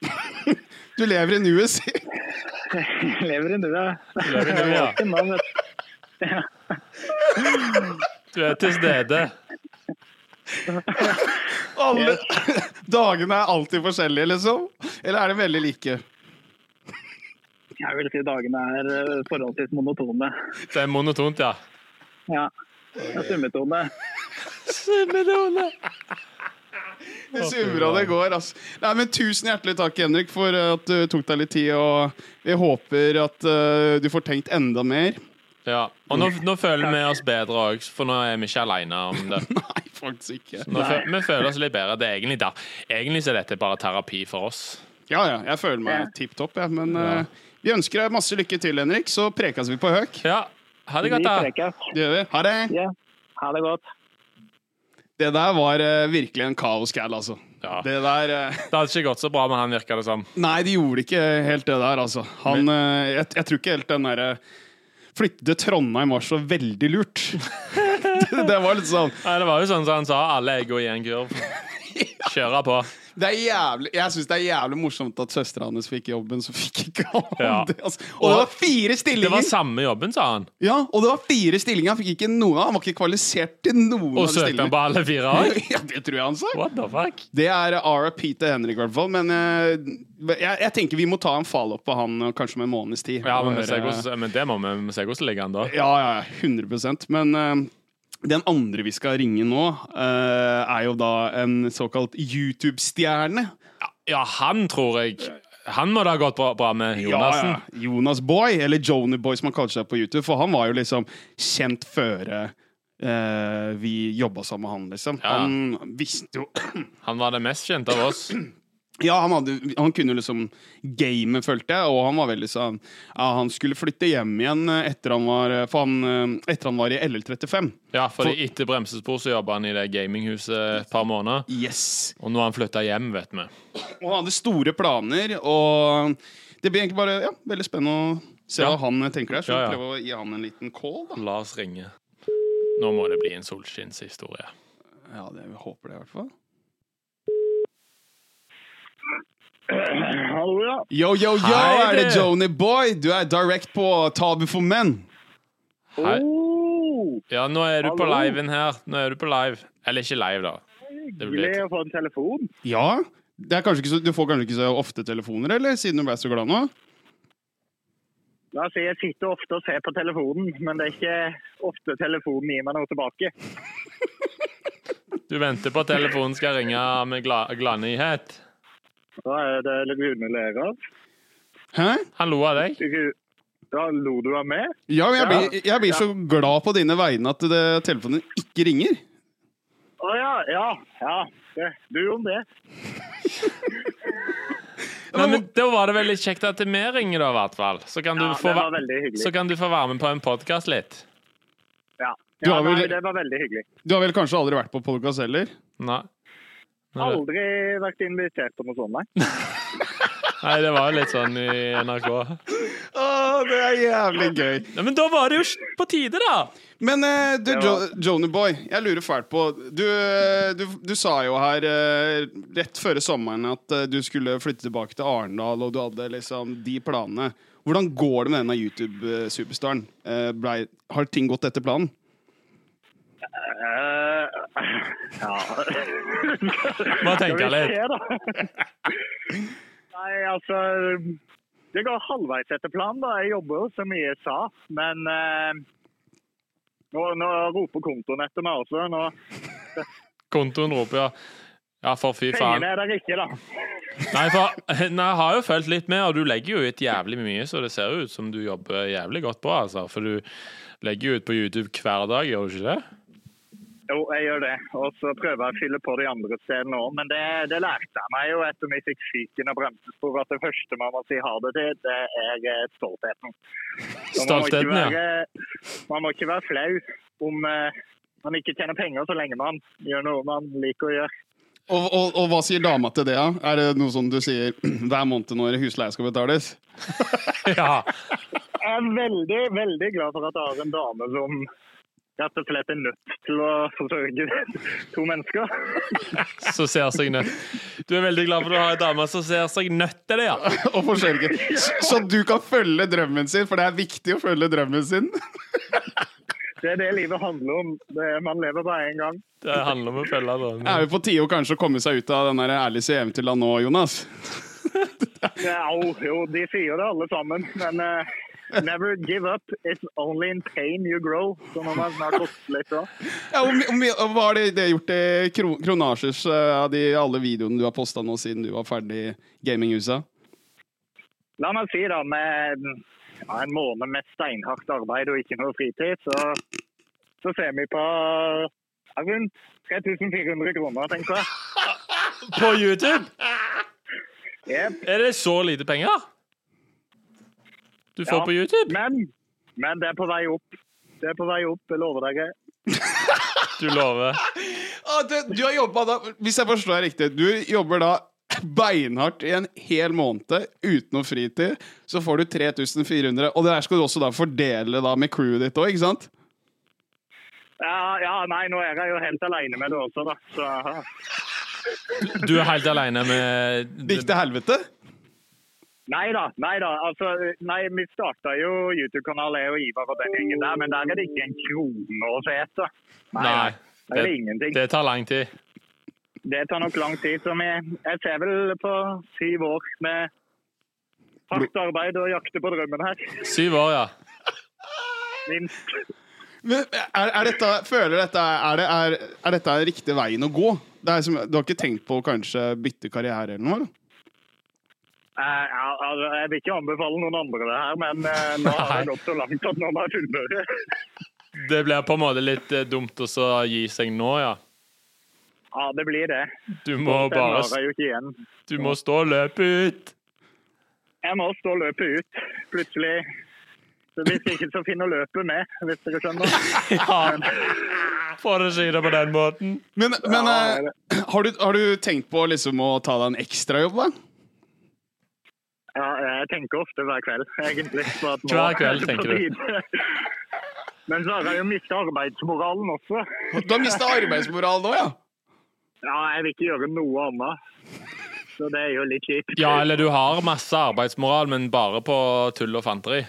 [SPEAKER 4] [LAUGHS]
[SPEAKER 2] Du lever i nuet, si!
[SPEAKER 4] Jeg lever i nuet.
[SPEAKER 3] Du lever i nuet, ja.
[SPEAKER 4] Våken nå, vet du.
[SPEAKER 3] Du er til stede.
[SPEAKER 2] Alle dagene er alltid forskjellige, liksom. Eller er de veldig like?
[SPEAKER 4] Jeg vil si dagene er eh, forholdsvis monotone.
[SPEAKER 3] Det er monotont, ja.
[SPEAKER 4] Ja. Det er summetone.
[SPEAKER 2] Det summer og det går, altså. Nei, men tusen hjertelig takk, Henrik, for eh, at du tok deg litt tid, og vi håper at eh, du får tenkt enda mer. [LAUGHS]
[SPEAKER 3] ja. Og nå, nå føler vi oss bedre òg, for nå er vi ikke aleine om det.
[SPEAKER 2] Nei, faktisk ikke.
[SPEAKER 3] Nå føl, vi føler oss litt bedre. Det er egentlig, da. egentlig så er dette bare terapi for oss.
[SPEAKER 2] Ja, ja, jeg føler meg tipp topp, jeg. Men eh, vi ønsker deg masse lykke til, Henrik, så prekes vi på høk.
[SPEAKER 3] Ja. Ha det
[SPEAKER 4] Vi
[SPEAKER 3] godt, da.
[SPEAKER 4] prekes.
[SPEAKER 2] Det gjør vi. Ha det!
[SPEAKER 4] Ja. Ha det godt.
[SPEAKER 2] Det der var eh, virkelig en kaoskall, altså.
[SPEAKER 3] Ja.
[SPEAKER 2] Det der eh, [LAUGHS]
[SPEAKER 3] Det hadde ikke gått så bra med han, virka det som.
[SPEAKER 2] Nei, de gjorde ikke helt det der, altså. Han, eh, jeg, jeg tror ikke helt den derre Flytte til Trondheim var så veldig lurt. [LAUGHS] det, det var litt sånn
[SPEAKER 3] Nei, det var jo sånn som han sa, alle egg og i en kurv. Kjøre på.
[SPEAKER 2] det er jævlig, Jeg syns det er jævlig morsomt at søstera hans fikk jobben, så fikk ikke han
[SPEAKER 3] Ja.
[SPEAKER 2] [LAUGHS] det. Altså. Og det var fire
[SPEAKER 3] Det var
[SPEAKER 2] stillinger!
[SPEAKER 3] samme jobben, sa han.
[SPEAKER 2] Ja, og det var fire stillinger Han fikk ikke noe av Han var ikke kvalifisert til noen
[SPEAKER 3] Og
[SPEAKER 2] av de
[SPEAKER 3] søkte han på
[SPEAKER 2] stillingene.
[SPEAKER 3] alle fire òg?
[SPEAKER 2] [LAUGHS] Ja, det tror jeg han sa.
[SPEAKER 3] What the fuck?
[SPEAKER 2] Det er RIP til Henrik, i hvert fall. Men eh, jeg, jeg tenker vi må ta en follow-up på han eh, kanskje om en måneds tid.
[SPEAKER 3] Ja, men,
[SPEAKER 2] Og
[SPEAKER 3] vi ser
[SPEAKER 2] høre-
[SPEAKER 3] hvordan, men det må vi, vi se hvordan ligger han da.
[SPEAKER 2] Ja, ja, ja, 100 Men eh, den andre vi skal ringe nå, eh, er jo da en såkalt YouTube-stjerne.
[SPEAKER 3] Ja, han tror jeg Han må det ha gått bra, bra med Jonassen.
[SPEAKER 2] Ja, ja. Jonas Boy, eller Joni Boy som han kaller seg på YouTube. For han var jo liksom kjent før eh, vi jobba sammen med han, liksom.
[SPEAKER 3] Ja.
[SPEAKER 2] Han visste jo [CLEARS THROAT]
[SPEAKER 3] Han var det mest kjente av oss.
[SPEAKER 2] Ja, han, hadde, han kunne liksom gamet, følte jeg, og han var veldig sånn ja, Han skulle flytte hjem igjen etter han var, for han, eh, etter han var i LL35.
[SPEAKER 3] Ja, fordi etter bremsespor så jobba han i det gaminghuset et par måneder.
[SPEAKER 2] Yes!
[SPEAKER 3] Og nå har han flytta hjem, vet vi.
[SPEAKER 2] Og han hadde store planer, og det blir egentlig bare ja, veldig spennende å se
[SPEAKER 3] Ja.
[SPEAKER 2] hva han eh, tenker der. Så
[SPEAKER 3] Ja, ja.
[SPEAKER 2] vi prøver å gi han en liten call, da.
[SPEAKER 3] La oss ringe. Nå må det bli en solskinnshistorie.
[SPEAKER 2] Ja, det, vi håper det i hvert fall.
[SPEAKER 4] Hallo, ja.
[SPEAKER 2] Yo, yo, yo,
[SPEAKER 3] Hei,
[SPEAKER 2] er det
[SPEAKER 3] du.
[SPEAKER 2] Joni Boy? Du er direct på Tabu for menn.
[SPEAKER 3] Hei.
[SPEAKER 4] Oh,
[SPEAKER 3] Ja, nå er du på
[SPEAKER 4] Hallo.
[SPEAKER 3] liven her. Nå er du på live. Eller ikke live, da. Det blir
[SPEAKER 4] hyggelig å få en telefon.
[SPEAKER 2] Ja, det er kanskje ikke så, du får kanskje ikke så ofte telefoner, eller? Siden du ble så glad nå?
[SPEAKER 4] La oss si jeg sitter ofte og ser på telefonen, men det er ikke ofte telefonen gir meg noe tilbake.
[SPEAKER 3] Du venter på at telefonen skal ringe med gla gladnyhet.
[SPEAKER 4] Da er det Lagune Lerer.
[SPEAKER 2] Hæ?
[SPEAKER 3] Han lo av deg.
[SPEAKER 4] Du- Da lo du av meg?
[SPEAKER 2] Ja, men jeg
[SPEAKER 4] Ja.
[SPEAKER 2] blir, jeg blir så glad på dine vegne at det, telefonen ikke ringer.
[SPEAKER 4] Å ja, ja. ja. Det, du om det.
[SPEAKER 3] Nei, men Da var det veldig kjekt at vi ringer, da, i hvert fall. Så kan du,
[SPEAKER 4] Ja,
[SPEAKER 3] få,
[SPEAKER 4] det var
[SPEAKER 3] va-
[SPEAKER 4] veldig hyggelig.
[SPEAKER 3] så kan du få være med på en podkast litt.
[SPEAKER 4] Ja,
[SPEAKER 2] Du
[SPEAKER 4] ja
[SPEAKER 2] har vel-
[SPEAKER 4] nei, det var veldig hyggelig.
[SPEAKER 2] Du har vel kanskje aldri vært på podcast heller?
[SPEAKER 3] Nei. Nei, det-
[SPEAKER 4] Aldri vært invitert på noe sånt, nei.
[SPEAKER 3] Nei, det var jo litt sånn i NRK.
[SPEAKER 2] Å, det er jævlig gøy.
[SPEAKER 3] Nei, men da var det jo på tide, da!
[SPEAKER 2] Men eh, du,
[SPEAKER 4] Det
[SPEAKER 2] jo,
[SPEAKER 4] var-
[SPEAKER 2] Joni Boy, jeg lurer fælt på Du, eh, du, du sa jo her eh, rett før sommeren at eh, du skulle flytte tilbake til Arendal, og du hadde liksom de planene. Hvordan går det med denne YouTube-superstaren? Eh, blei- har ting gått etter planen?
[SPEAKER 4] Eh, ja.
[SPEAKER 3] Må tenke
[SPEAKER 4] Skal vi
[SPEAKER 3] litt.
[SPEAKER 4] se, da? [LAUGHS] Nei, altså Det går halvveis etter planen. da. Jeg jobber jo som jeg sa, men eh, nå, nå roper kontoen etter meg også. Nå
[SPEAKER 3] Kontoen roper ja. Ja, for fy faen.
[SPEAKER 4] pengene er der ikke, da.
[SPEAKER 3] Nei, for [LAUGHS] nei, jeg har jo fulgt litt med, og du legger jo ut jævlig mye, så det ser jo ut som du jobber jævlig godt på, altså. For du legger jo ut på YouTube hver dag, gjør du ikke det? [LAUGHS]
[SPEAKER 4] Jo, jeg gjør det. Og så prøver jeg å fylle på de andre stedene òg. Men det, det lærte jeg meg jo etter vi fikk fyken av bremsespor, at det første man må si ha det til, det er eh, stoltheten. Og man må ikke
[SPEAKER 3] Stoltheten, ja.
[SPEAKER 4] være- Man må ikke være flau om eh, man ikke tjener penger så lenge man gjør noe man liker å gjøre.
[SPEAKER 2] Og, og, og hva sier dama til det? da? [CLEARS THROAT] Er det noe sånn du sier hver måned når husleie skal betales?
[SPEAKER 3] ja.
[SPEAKER 4] Jeg er veldig, veldig glad for at jeg har en dame som rett og slett er nødt til å forsørge [LAUGHS] to mennesker.
[SPEAKER 3] [LAUGHS] som ser seg nødt. Du er veldig glad for å ha en dame som ser seg nødt til det, ja.
[SPEAKER 2] Og forsørge. Så du kan følge drømmen sin, for det er viktig å følge drømmen sin.
[SPEAKER 4] Det er det livet handler om. Det, man lever bare én gang.
[SPEAKER 3] Det handler om å følge
[SPEAKER 2] Det
[SPEAKER 3] drømmen.
[SPEAKER 2] er jo på tide å kanskje komme seg ut av den der Alice i Eventyrland nå, Jonas.
[SPEAKER 4] Au, jo, de sier det alle sammen, men eh, Never give up. It's only in pain you grow. Så må man snart hoste litt òg.
[SPEAKER 2] Ja, og, mi- og, mi- og hva har det, det gjort i kro, kronasjes eh, av de alle videoene du har posta nå siden du var ferdig i gaminghuset?
[SPEAKER 4] La meg si da, med ja, en måned med steinhardt arbeid og ikke noe fritid, så, så ser vi på ja, rundt 3400 kroner, tenker jeg.
[SPEAKER 3] På YouTube?
[SPEAKER 4] Jep.
[SPEAKER 3] Er det så lite penger? Du får
[SPEAKER 4] Ja.
[SPEAKER 3] på YouTube?
[SPEAKER 4] Men, men det er på vei opp. Det er på vei opp, jeg lover dere.
[SPEAKER 3] Du lover.
[SPEAKER 2] Ah, det, du har jobba da Hvis jeg forstår deg riktig, du jobber da beinhardt i en hel måned uten noe fritid. Så får du 3400, og det der skal du også da fordele da med crewet ditt òg, ikke sant?
[SPEAKER 4] Ja, ja, nei, nå er jeg jo helt alene med det også, da. Så,
[SPEAKER 3] Du er helt aleine med
[SPEAKER 2] Det gikk til helvete?
[SPEAKER 4] nei da, nei da. Altså, nei, vi starta jo YouTube-kanal, jeg og Ivar og den gjengen der, men der er det ikke en krone å se etter.
[SPEAKER 3] Nei.
[SPEAKER 4] Der er det
[SPEAKER 3] Det,
[SPEAKER 4] ingenting.
[SPEAKER 3] det tar lang tid.
[SPEAKER 4] Det tar nok lang tid. Som jeg, jeg ser vel på syv år med hardt arbeid og jakte på drømmen her.
[SPEAKER 3] Syv år, ja.
[SPEAKER 4] Minst.
[SPEAKER 2] Men er, er dette, føler dette, er, det, er, er dette riktig veien å gå? Det er som, du har ikke tenkt på å kanskje bytte karriere eller noe? eller?
[SPEAKER 4] Eh, ja, altså, Jeg vil ikke anbefale noen andre det her, men eh, nå har det gått så langt at nå må jeg fullføre.
[SPEAKER 3] Det blir på en måte litt eh, dumt å så gi seg nå, ja.
[SPEAKER 4] Ja, det blir det.
[SPEAKER 3] Du må
[SPEAKER 4] Den
[SPEAKER 3] bare
[SPEAKER 4] har jeg jo ikke igjen.
[SPEAKER 3] Du må stå og løpe ut.
[SPEAKER 4] Jeg må stå løpet ut. Plutselig så Hvis ikke, så finner løpet med, hvis
[SPEAKER 3] [LAUGHS]
[SPEAKER 4] dere skjønner.
[SPEAKER 3] Ja. Får det skje på den måten.
[SPEAKER 2] Men, men
[SPEAKER 4] Ja,
[SPEAKER 2] eh, [CLEARS THROAT] har, du, har du tenkt på liksom å ta deg en ekstrajobb, da?
[SPEAKER 4] Ja, jeg tenker ofte hver kveld, egentlig. på at nå
[SPEAKER 3] Hver kveld
[SPEAKER 4] er det på
[SPEAKER 3] tenker du.
[SPEAKER 4] tide. Men så har jeg jo mista arbeidsmoralen også.
[SPEAKER 2] Du har mista arbeidsmoralen nå, ja?
[SPEAKER 4] Ja, jeg vil ikke gjøre noe annet. Så det er jo litt kjipt.
[SPEAKER 3] Ja, eller du har masse arbeidsmoral, men bare på tull og fanteri.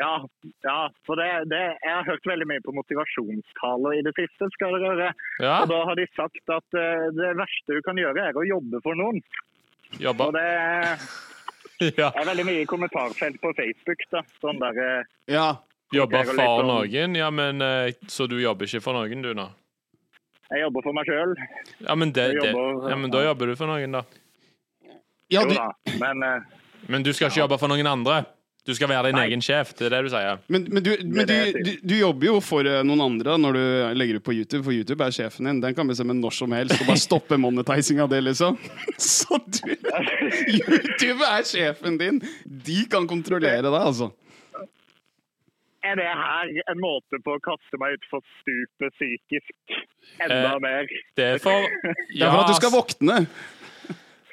[SPEAKER 4] ja, ja, for det, det, jeg har hørt veldig mye på motivasjonstaler i det siste. skal dere høre.
[SPEAKER 3] Ja,
[SPEAKER 4] Og da har de sagt at eh, det verste du kan gjøre, er å jobbe for noen. Og
[SPEAKER 3] jobba.
[SPEAKER 4] det
[SPEAKER 3] Ja.
[SPEAKER 4] er veldig mye i kommentarfelt på Facebook. da. Sånn der, eh,
[SPEAKER 2] Ja.
[SPEAKER 3] Jobba
[SPEAKER 4] Jeg har litt
[SPEAKER 3] for
[SPEAKER 4] om-
[SPEAKER 3] noen, ja, men eh, Så du jobber ikke for noen, du, nå?
[SPEAKER 4] Jeg jobber for meg sjøl.
[SPEAKER 3] Ja, men, det,
[SPEAKER 4] Jeg
[SPEAKER 3] det.
[SPEAKER 4] jobber-
[SPEAKER 3] Ja, men da jobber du for noen, da.
[SPEAKER 2] ja
[SPEAKER 4] Jo
[SPEAKER 2] du,
[SPEAKER 4] da. Men eh,
[SPEAKER 3] Men du skal ikke jobbe for noen andre. Du skal være din
[SPEAKER 4] Nei.
[SPEAKER 3] egen sjef, det er det du sier.
[SPEAKER 2] men, men, du, men
[SPEAKER 4] det
[SPEAKER 2] du,
[SPEAKER 4] jeg sier.
[SPEAKER 2] du, du jobber jo for eh, noen andre når du legger ut på YouTube, for YouTube er sjefen din. Den kan bestemme når som helst og bare stoppe monetizinga di, liksom. [LAUGHS] Så
[SPEAKER 4] [LAUGHS]
[SPEAKER 2] du YouTube er sjefen din! De kan kontrollere deg, altså.
[SPEAKER 4] er det her en måte på å kaste meg utfor stupet psykisk enda
[SPEAKER 3] Eh,
[SPEAKER 4] mer?
[SPEAKER 3] Det er
[SPEAKER 4] [LAUGHS]
[SPEAKER 3] for
[SPEAKER 2] Det er
[SPEAKER 3] Ja,
[SPEAKER 2] for at du skal
[SPEAKER 3] ass.
[SPEAKER 2] våkne.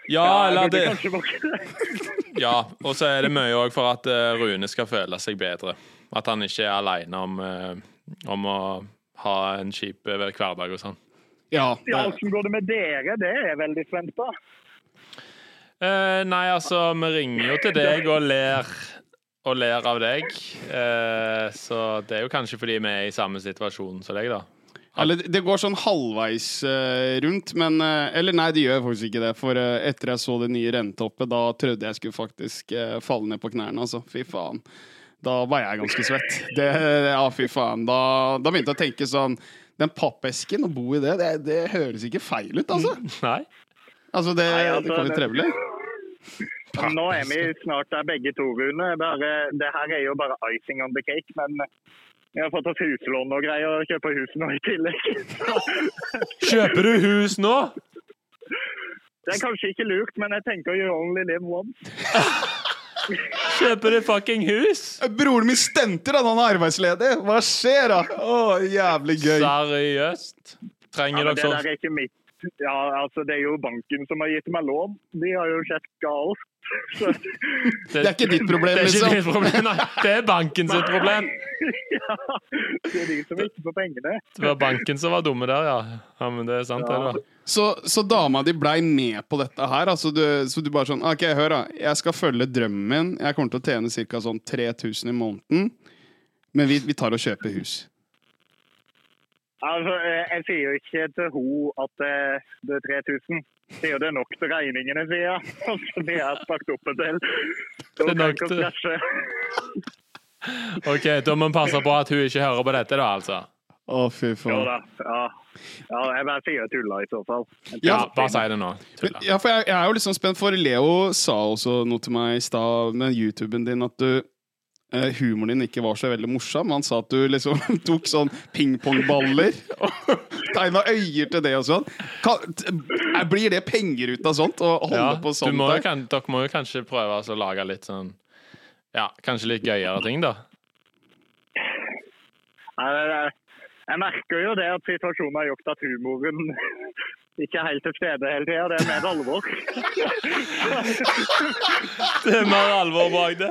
[SPEAKER 3] Ja,
[SPEAKER 4] Ja,
[SPEAKER 3] eller
[SPEAKER 4] jeg burde
[SPEAKER 3] det
[SPEAKER 4] kanskje våkne.
[SPEAKER 3] Ja, og så er det mye òg for at eh, Rune skal føle seg bedre. At han ikke er aleine om, eh, om å ha en kjip eh, hverdag og sånn.
[SPEAKER 2] Ja. det
[SPEAKER 4] [LAUGHS] Ja,
[SPEAKER 2] er-
[SPEAKER 4] Hvordan går det med dere? Det er jeg veldig spent på.
[SPEAKER 3] Eh, nei, altså, vi ringer jo til deg og ler og ler av deg. Eh, så det er jo kanskje fordi vi er i samme situasjon som deg, da. [LAUGHS]
[SPEAKER 2] Eller det- det går sånn halvveis eh, rundt, men eh, Eller nei, det gjør faktisk ikke det. For eh, etter jeg så det nye rentehoppet, da trodde jeg skulle faktisk eh, falle ned på knærne, altså. Fy faen. Da var jeg ganske svett. Det, ja, fy faen. Da, da begynte jeg å tenke sånn Den pappesken, å bo i det, det, det høres ikke feil ut, altså.
[SPEAKER 3] Nei?
[SPEAKER 2] Altså, det,
[SPEAKER 4] Nei, altså,
[SPEAKER 2] det kan bli
[SPEAKER 4] det-
[SPEAKER 2] trevelig.
[SPEAKER 4] Men [LAUGHS] Nå er vi snart der begge to, Rune. Bare, det her er jo bare icing on the cake, men vi har fått oss huslån og greier og kjøper hus nå i tillegg. [LAUGHS]
[SPEAKER 3] Kjøper du hus nå?
[SPEAKER 4] Det er kanskje ikke lurt, men jeg tenker you only live once.
[SPEAKER 3] Kjøper du fucking hus?
[SPEAKER 2] Eh, Broren min stenter, da, når han er arbeidsledig. Hva skjer, da? Å, jævlig gøy.
[SPEAKER 3] Seriøst? Trenger
[SPEAKER 4] Ja, men
[SPEAKER 3] dere
[SPEAKER 4] det der
[SPEAKER 3] sånn
[SPEAKER 4] er ikke mitt. Ja, altså det er jo banken som har gitt meg lån. De har jo sjekka alt. [LAUGHS] Så,
[SPEAKER 2] Det er ikke ditt problem,
[SPEAKER 3] det er ikke
[SPEAKER 2] liksom.
[SPEAKER 3] ditt problem,
[SPEAKER 2] [LAUGHS]
[SPEAKER 3] nei. Det er banken sitt problem.
[SPEAKER 4] ja, det er de som ikke får pengene.
[SPEAKER 3] Det var banken som var dumme der, ja. ja men det er sant, det, da.
[SPEAKER 2] Så, så dama di blei med på dette her? Altså du, så du bare sånn Ok, hør, da. Jeg skal følge drømmen min. Jeg kommer til å tjene ca. sånn 3000 i måneden. Men vi, vi tar og kjøper hus.
[SPEAKER 4] Altså, eh, jeg sier jo ikke til hun at eh, det er 3000. Sier jo det er nok til regningene, sier jeg. [LAUGHS] Altså, det er spakt opp en del.
[SPEAKER 3] Det er nok til- OK, da må vi passe på at hun ikke hører på dette, da, altså.
[SPEAKER 2] Å, fy
[SPEAKER 4] Jo
[SPEAKER 2] faen.
[SPEAKER 4] da. Ja. ja, jeg bare sier jeg tuller i så fall. Jeg
[SPEAKER 3] Ja,
[SPEAKER 4] tuller.
[SPEAKER 3] bare si det nå. Tulla.
[SPEAKER 2] Ja, for jeg, jeg er jo liksom spent, for Leo sa også noe til meg i stad med YouTuben din at du eh, Humoren din ikke var så veldig morsom. Han sa at du liksom [LAUGHS] tok sånn pingpongballer og tegna øyer til det og sånn. Kan, t- blir det penger ut av sånt? Å holde
[SPEAKER 3] Ja,
[SPEAKER 2] på
[SPEAKER 3] du
[SPEAKER 2] sånt?
[SPEAKER 3] må jo,
[SPEAKER 2] der?
[SPEAKER 3] kan, dere må jo kanskje prøve altså, å lage litt sånn Ja, kanskje litt gøyere ting, da.
[SPEAKER 4] Nei, det er- Jeg merker jo det at situasjonen har gjort at humoren [LAUGHS] ikke er helt til stede hele tida. Det er mer alvor.
[SPEAKER 3] [LAUGHS] Det er mer alvor bak det.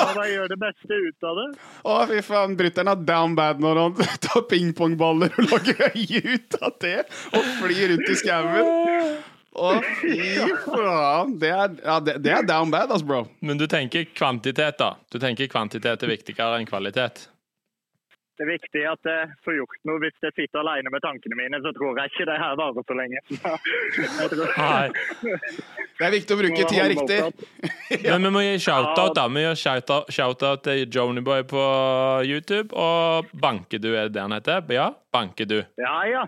[SPEAKER 4] Og da gjør det beste ut av det.
[SPEAKER 2] Å, fy faen. Brutter'n er down bad når han [LAUGHS] tar pingpongballer og lager øye ut av det og flyr rundt i skauen. Å, fy faen. Det er, ja, det, det er down bad, ass, bro.
[SPEAKER 3] Men du tenker kvantitet, da. Du tenker kvantitet er viktigere enn kvalitet.
[SPEAKER 4] Det er viktig at jeg får gjort noe. Hvis jeg sitter alene med tankene mine, så tror jeg ikke det her varer så lenge. [LAUGHS] Jeg tror-
[SPEAKER 3] [LAUGHS] Nei.
[SPEAKER 2] Det er viktig å bruke tida riktig.
[SPEAKER 3] Men vi må gi shoutout, da. Vi gjør shoutout, shoutout til Jonyboy på YouTube. Og Bankedu er det han heter? Ja, Bankedu.
[SPEAKER 4] Ja, ja.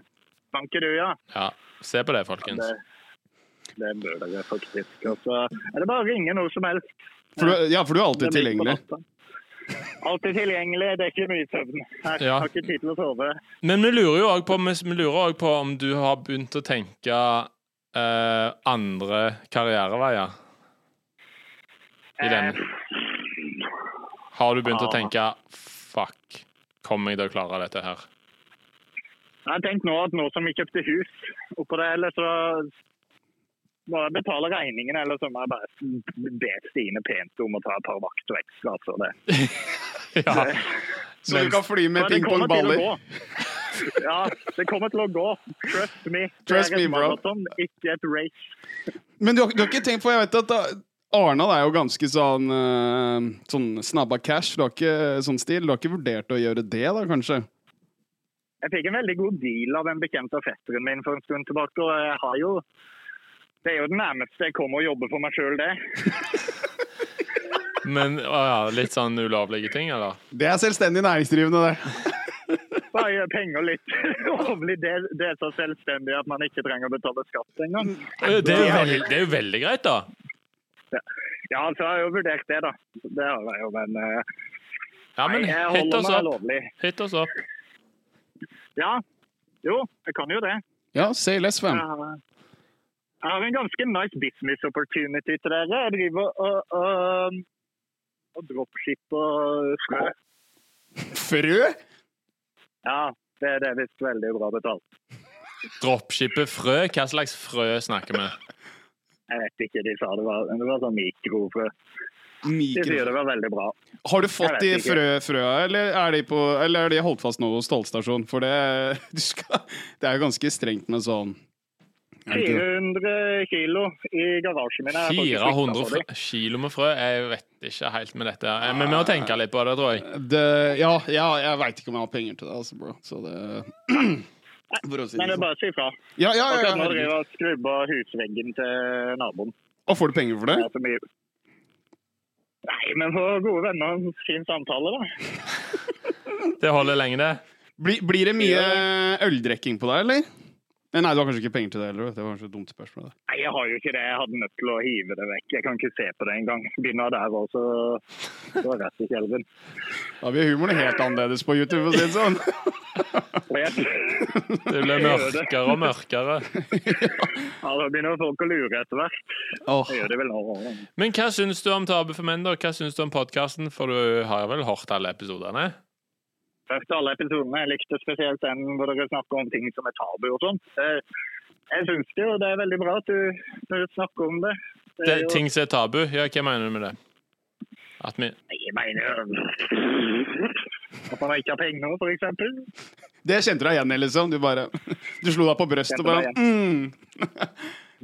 [SPEAKER 4] Banker du, ja.
[SPEAKER 3] Ja, se på det, folkens.
[SPEAKER 4] Det bør dere faktisk. Og så er det bare å ringe når som helst.
[SPEAKER 2] For du, ja, for du er alltid
[SPEAKER 4] Det er midt på
[SPEAKER 2] tilgjengelig.
[SPEAKER 4] natta. Alltid tilgjengelig. Det er ikke mye søvn. Jeg
[SPEAKER 3] Ja.
[SPEAKER 4] har ikke tid til å sove.
[SPEAKER 3] Men vi lurer jo òg på, vi lurer også på om du har begynt å tenke eh, andre karriereveier i den. Har du begynt å tenke Fuck, kommer jeg til å klare dette her? [LAUGHS]
[SPEAKER 4] Jeg har tenkt nå at nå som vi kjøpte hus oppå det, eller så må jeg betale regningen, eller så må jeg bare be Stine pent om å ta et par vakter ekstra. Så det.
[SPEAKER 3] Ja.
[SPEAKER 2] Så du kan fly med
[SPEAKER 4] Men det kommer til å
[SPEAKER 2] pingpongballer.
[SPEAKER 4] gå. Ja, det kommer til å gå. Trust me.
[SPEAKER 2] Trust
[SPEAKER 4] det er
[SPEAKER 2] me,
[SPEAKER 4] et
[SPEAKER 2] bro.
[SPEAKER 4] maraton, ikke et race.
[SPEAKER 2] Men du har, du har ikke tenkt på Jeg vet at da- Arendal er jo ganske sånn, eh, sånn snabba cash. Du har ikke sånn stil. Du har ikke vurdert å gjøre det, da, kanskje?
[SPEAKER 4] Jeg fikk en veldig god deal av en bekjent av fetteren min for en stund tilbake. og jeg har jo... Det er jo det nærmeste jeg kommer å jobbe for meg sjøl, det.
[SPEAKER 3] Men å ja, litt sånn ulovlige ting, eller?
[SPEAKER 2] Det er selvstendig næringsdrivende, det.
[SPEAKER 4] Bare gjør penger litt [LAUGHS] lovlig. Det, det er så selvstendig at man ikke trenger å betale skatt engang.
[SPEAKER 3] Det er jo veldig, det er jo veldig greit, da.
[SPEAKER 4] Ja, altså, jeg har jo vurdert det, da. Det har jeg jo, men eh,
[SPEAKER 3] Ja, men altså.
[SPEAKER 4] nei, jeg
[SPEAKER 3] hit
[SPEAKER 4] holder
[SPEAKER 3] oss
[SPEAKER 4] meg
[SPEAKER 3] opp.
[SPEAKER 4] lovlig.
[SPEAKER 3] Hit oss opp.
[SPEAKER 4] Ja, jo, jeg kan jo det.
[SPEAKER 2] Ja, say less, fam.
[SPEAKER 4] Jeg har- jeg har en ganske nice business opportunity til dere. Jeg driver og, og, og dropshipper frø.
[SPEAKER 2] Frø?
[SPEAKER 4] Ja, det er det visst veldig bra betalt.
[SPEAKER 3] Dropshippet frø? Hva slags frø snakker vi?
[SPEAKER 4] Jeg vet ikke, de sa det var, det var sånn mikrofrø. De sier
[SPEAKER 2] Mikro.
[SPEAKER 4] det var veldig bra.
[SPEAKER 2] Har du fått
[SPEAKER 4] Jeg
[SPEAKER 2] de
[SPEAKER 4] vet ikke.
[SPEAKER 2] frø, frøa, eller er de, på, eller er de holdt fast nå hos tollstasjonen? For det, [LAUGHS] du skal, det er jo ganske strengt med sånn er det ikke det?
[SPEAKER 4] 400 kilo i garasjen min. Jeg har faktisk flyttet på
[SPEAKER 3] 400
[SPEAKER 4] det.
[SPEAKER 3] frø, kilo med frø? Jeg vet ikke helt med dette. her. Men vi må tenke litt på det, tror jeg.
[SPEAKER 2] det ja, ja, jeg veit ikke om jeg har penger til det, altså, bro. Så det [CLEARS THROAT] For å si
[SPEAKER 4] Men
[SPEAKER 2] det
[SPEAKER 4] det er
[SPEAKER 2] sånn.
[SPEAKER 4] bare å si fra.
[SPEAKER 2] Ja, ja, ja,
[SPEAKER 4] Og kan
[SPEAKER 2] herregud.
[SPEAKER 4] drive og skrubbe husveggen til naboen.
[SPEAKER 2] Og får du penger for det?
[SPEAKER 4] Det er så mye. Nei, men for gode venner, fin samtale, da.
[SPEAKER 3] Det holder lenge, det.
[SPEAKER 2] Blir, blir det mye øldrikking på deg, eller? Eh, Nei, du har kanskje ikke penger til det heller. vet du. Det var kanskje et dumt spørsmål. Det.
[SPEAKER 4] Nei, jeg har jo ikke det. Jeg hadde nødt til å hive det vekk. Jeg kan ikke se på det engang. Begynner jeg der også, så rett i kjelven.
[SPEAKER 2] Da blir humoren helt annerledes på YouTube, for å si det sånn.
[SPEAKER 4] [LAUGHS] Og jeg-
[SPEAKER 3] Det
[SPEAKER 4] [LAUGHS]
[SPEAKER 3] blir mørkere og mørkere.
[SPEAKER 4] Ja, da begynner folk å lure etter hvert.
[SPEAKER 2] Åh.
[SPEAKER 4] Det gjør de vel nå.
[SPEAKER 3] Men hva syns du om Tabu for menn, da? Hva syns du om podkasten? For du har vel hørt alle episodene?
[SPEAKER 4] Eh, gjennomsøkte alle episodene. Jeg likte spesielt den hvor dere snakker om ting som er tabu og sånn. Eh, Jeg syns det jo det er veldig bra at du, når du snakker om det. Det
[SPEAKER 3] Det,
[SPEAKER 4] er jo-
[SPEAKER 3] ting som er tabu? Ja, hva mener du med det? At vi
[SPEAKER 4] Jeg mener At man ikke har penger, for eksempel.
[SPEAKER 2] Det kjente du deg igjen i, liksom. Du bare [LAUGHS] Du slo deg på brystet og bare
[SPEAKER 4] Kjente
[SPEAKER 2] mm. [LAUGHS]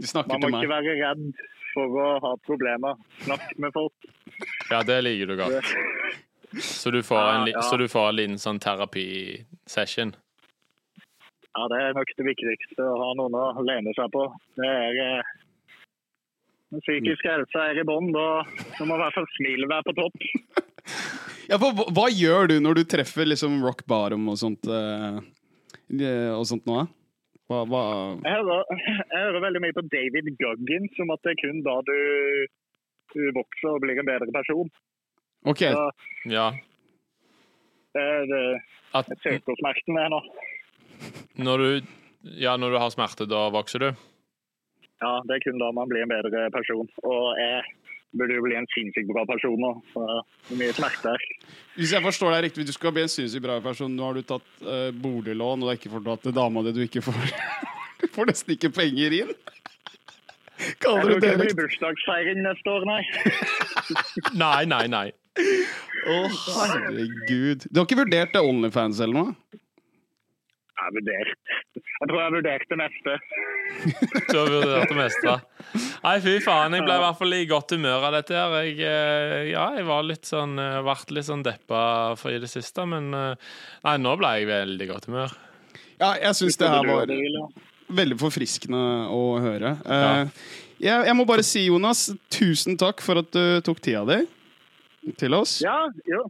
[SPEAKER 2] Du
[SPEAKER 4] Man
[SPEAKER 2] snakker
[SPEAKER 4] må
[SPEAKER 2] til
[SPEAKER 4] ikke
[SPEAKER 2] meg.
[SPEAKER 4] være redd for å ha problemer. Snakk med folk.
[SPEAKER 3] Ja, det liker du godt. Så du får en, li- så du får en liten sånn terapisession?
[SPEAKER 4] Ja, Det er nok det viktigste å ha noen å lene seg på. Det er eh, Den psykiske helsa er i bånn. Da da må i hvert fall smilet være på topp.
[SPEAKER 2] Ja, for hva, hva gjør du når du treffer liksom rock bottom og sånt eh, eh, og sånt nå? eh? Hva, hva
[SPEAKER 4] Jeg hører, jeg hører veldig mye på David Guggins om at det er kun da du, du vokser og blir en bedre person.
[SPEAKER 2] OK.
[SPEAKER 4] Så
[SPEAKER 3] Ja.
[SPEAKER 4] det er eh,
[SPEAKER 3] At
[SPEAKER 4] søkersmerten her nå.
[SPEAKER 3] når du, ja, når du har smerte, da vokser du?
[SPEAKER 4] Ja, det er kun da man blir en bedre person. Og jeg burde jo bli en sinnssykt bra person nå. Så det er mye smerter.
[SPEAKER 2] Hvis jeg forstår deg riktig, du skal bli en sinnssykt bra person. Nå har du tatt eh, boliglån, og du har ikke fortalt til dama di du ikke får [LAUGHS] Du får nesten ikke penger inn. [LAUGHS]
[SPEAKER 4] Jeg
[SPEAKER 2] Kaller du
[SPEAKER 4] tror ikke
[SPEAKER 2] det
[SPEAKER 4] det blir
[SPEAKER 2] litt
[SPEAKER 4] bursdagsfeiring neste år, nei.
[SPEAKER 3] Nei, nei, nei.
[SPEAKER 2] Å, herregud. Du har ikke vurdert det Onlyfans eller noe?
[SPEAKER 4] Jeg har vurdert. Jeg tror jeg vurderte neste.
[SPEAKER 3] Du har vurdert det meste. Nei, fy faen. Jeg ble i hvert fall i godt humør av dette her. Jeg, eh, ja, jeg var litt sånn eh, Vart litt sånn deppa for i det siste, men eh, Nei, nå ble jeg i veldig godt humør.
[SPEAKER 2] Ja, jeg syns det her var
[SPEAKER 4] Ja.
[SPEAKER 2] veldig forfriskende å høre.
[SPEAKER 3] Ja.
[SPEAKER 2] Eh, jeg, jeg må bare si, Jonas, tusen takk for at du tok tida di til oss.
[SPEAKER 4] Ja, jo.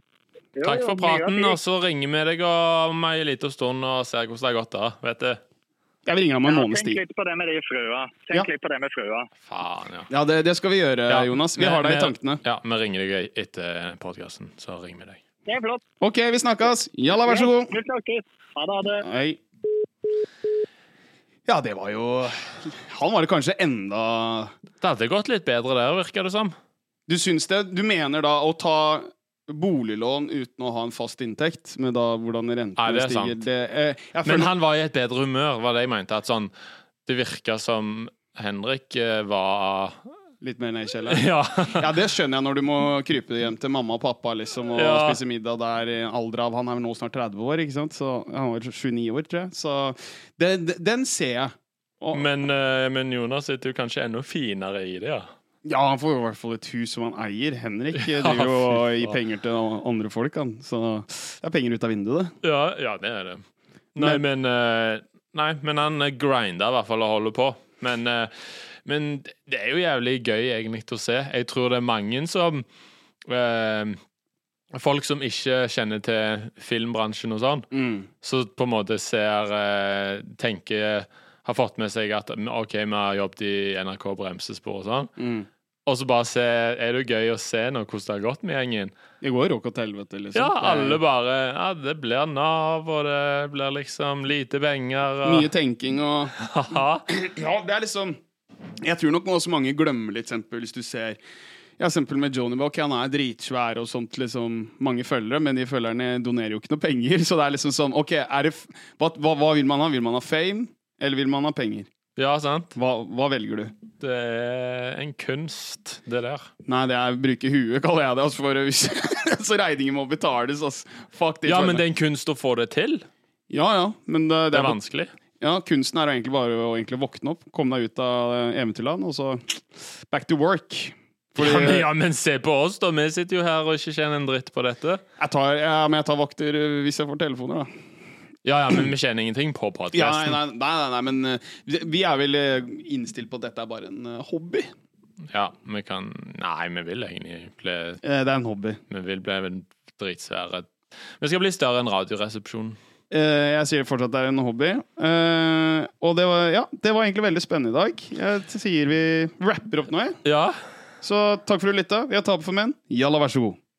[SPEAKER 4] Jo,
[SPEAKER 3] Takk
[SPEAKER 4] jo,
[SPEAKER 3] for
[SPEAKER 4] mye av
[SPEAKER 3] praten, altså.
[SPEAKER 4] tid.
[SPEAKER 3] og så ringer vi deg om ei lita stund og ser hvordan det har gått da, vet du.
[SPEAKER 2] Jeg vil ringe deg om en
[SPEAKER 4] Ja,
[SPEAKER 2] måneds
[SPEAKER 4] Tenk
[SPEAKER 2] tid.
[SPEAKER 4] litt på det med de frøa. Tenk
[SPEAKER 2] Ja.
[SPEAKER 4] litt på det med frøa.
[SPEAKER 3] Faen, ja.
[SPEAKER 2] Ja, det, det skal vi gjøre,
[SPEAKER 3] ja.
[SPEAKER 2] Jonas. Vi
[SPEAKER 3] men-
[SPEAKER 2] har deg i
[SPEAKER 3] men-
[SPEAKER 2] tankene.
[SPEAKER 3] Ja, vi ringer deg etter podkasten. Så ringer vi deg.
[SPEAKER 4] Det er flott.
[SPEAKER 2] OK, vi snakkes. Jalla, vær så god.
[SPEAKER 4] Vi snakkes. Ha det, ha det.
[SPEAKER 2] Hei. Ja, det var jo Han var det kanskje enda
[SPEAKER 3] Det hadde gått litt bedre der, virker det som.
[SPEAKER 2] Du syns det? Du mener da å ta boliglån uten å ha en fast inntekt, med da hvordan rentene
[SPEAKER 3] Nei, det er
[SPEAKER 2] stiger
[SPEAKER 3] sant.
[SPEAKER 2] Det, eh, jeg
[SPEAKER 3] Men
[SPEAKER 2] føler-
[SPEAKER 3] han var i et bedre humør, var det jeg mente. At sånn Det virka som Henrik eh, var
[SPEAKER 2] Litt mer ned i kjelleren.
[SPEAKER 3] [LAUGHS] Ja.
[SPEAKER 2] Ja, det skjønner jeg når du må krype hjem til mamma og pappa liksom, og
[SPEAKER 3] Ja.
[SPEAKER 2] spise middag der i en alder av Han er vel nå snart 30 år, ikke sant? Så han var 29 år, tror jeg. Så det, det, den ser jeg. Og,
[SPEAKER 3] Men, eh, men Jonas sitter jo kanskje enda finere i det, ja.
[SPEAKER 2] ja, han får i hvert fall et hus som han eier. Henrik eh,
[SPEAKER 3] [LAUGHS] Ja,
[SPEAKER 2] driver jo
[SPEAKER 3] fy
[SPEAKER 2] og gir
[SPEAKER 3] faen.
[SPEAKER 2] penger til andre folk, han. Så det er penger ut av vinduet, det.
[SPEAKER 3] Ja, ja det er det. Nei, men, eh, nei, men han eh, grinder i hvert fall og holder på. Men, eh, men det er jo jævlig gøy egentlig å se. Jeg tror det er mange som eh, Folk som ikke kjenner til filmbransjen og sånn, så på en måte ser eh, Tenker Har fått med seg at OK, vi har jobbet i NRK Bremsespor og sånn.
[SPEAKER 2] Mm.
[SPEAKER 3] Og så bare se Er det jo gøy å se nå hvordan det har gått med gjengen?
[SPEAKER 2] Det går jo råk til helvete, liksom.
[SPEAKER 3] Ja,
[SPEAKER 2] Det er
[SPEAKER 3] alle bare Ja, det blir Nav, og det blir liksom lite penger og
[SPEAKER 2] Mye tenking og
[SPEAKER 3] Haha.
[SPEAKER 2] Ja, det er liksom Jeg tror nok også mange glemmer litt, eksempel, hvis du ser ja, eksempel med Johnny Buck, han er dritsvær og sånt, liksom, mange følgere, men de følgerne donerer jo ikke noe penger, [LAUGHS] så det er liksom sånn, ok, er det, f- hva, hva, hva vil man ha? Vil man ha fame, eller vil man ha penger?
[SPEAKER 3] Ja, sant?
[SPEAKER 2] Hva, hva velger du?
[SPEAKER 3] Det er en kunst, det der.
[SPEAKER 2] Nei, det er bruke huet, [LAUGHS] kaller jeg det, altså, for hvis, [LAUGHS] så regningen må betales, altså. Fuck de
[SPEAKER 3] Ja, men
[SPEAKER 2] følgerne.
[SPEAKER 3] det er en kunst å få det til.
[SPEAKER 2] Ja, ja, men det, det
[SPEAKER 3] Det
[SPEAKER 2] er
[SPEAKER 3] er vanskelig.
[SPEAKER 2] Ja, kunsten er jo egentlig bare å egentlig våkne opp, komme deg ut av eh, eventyrland, og så back to work. Fordi-
[SPEAKER 3] Ja men, ja, men se på oss, da. Vi sitter jo her og ikke tjener en dritt på dette.
[SPEAKER 2] Jeg tar, ja, men jeg tar vakter eh, hvis jeg får telefoner, da.
[SPEAKER 3] Ja, ja, men vi tjener ingenting på
[SPEAKER 2] Ja,
[SPEAKER 3] podkasten.
[SPEAKER 2] nei, nei, nei, nei, men eh, vi- vi er vel eh, innstilt på at dette er bare en eh, hobby.
[SPEAKER 3] Ja, vi kan Nei, vi vil egentlig bli
[SPEAKER 2] Eh, Det er en hobby.
[SPEAKER 3] Vi vil bli en dritsvære Vi skal bli større enn Radioresepsjonen.
[SPEAKER 2] Eh, Jeg sier fortsatt det er en hobby. Eh, Og det var, ja, det var egentlig veldig spennende i dag. Jeg sier vi rapper opp nå, jeg.
[SPEAKER 3] Ja.
[SPEAKER 2] Så takk for at du lytta. Vi har Tape for menn. Jalla, vær så god.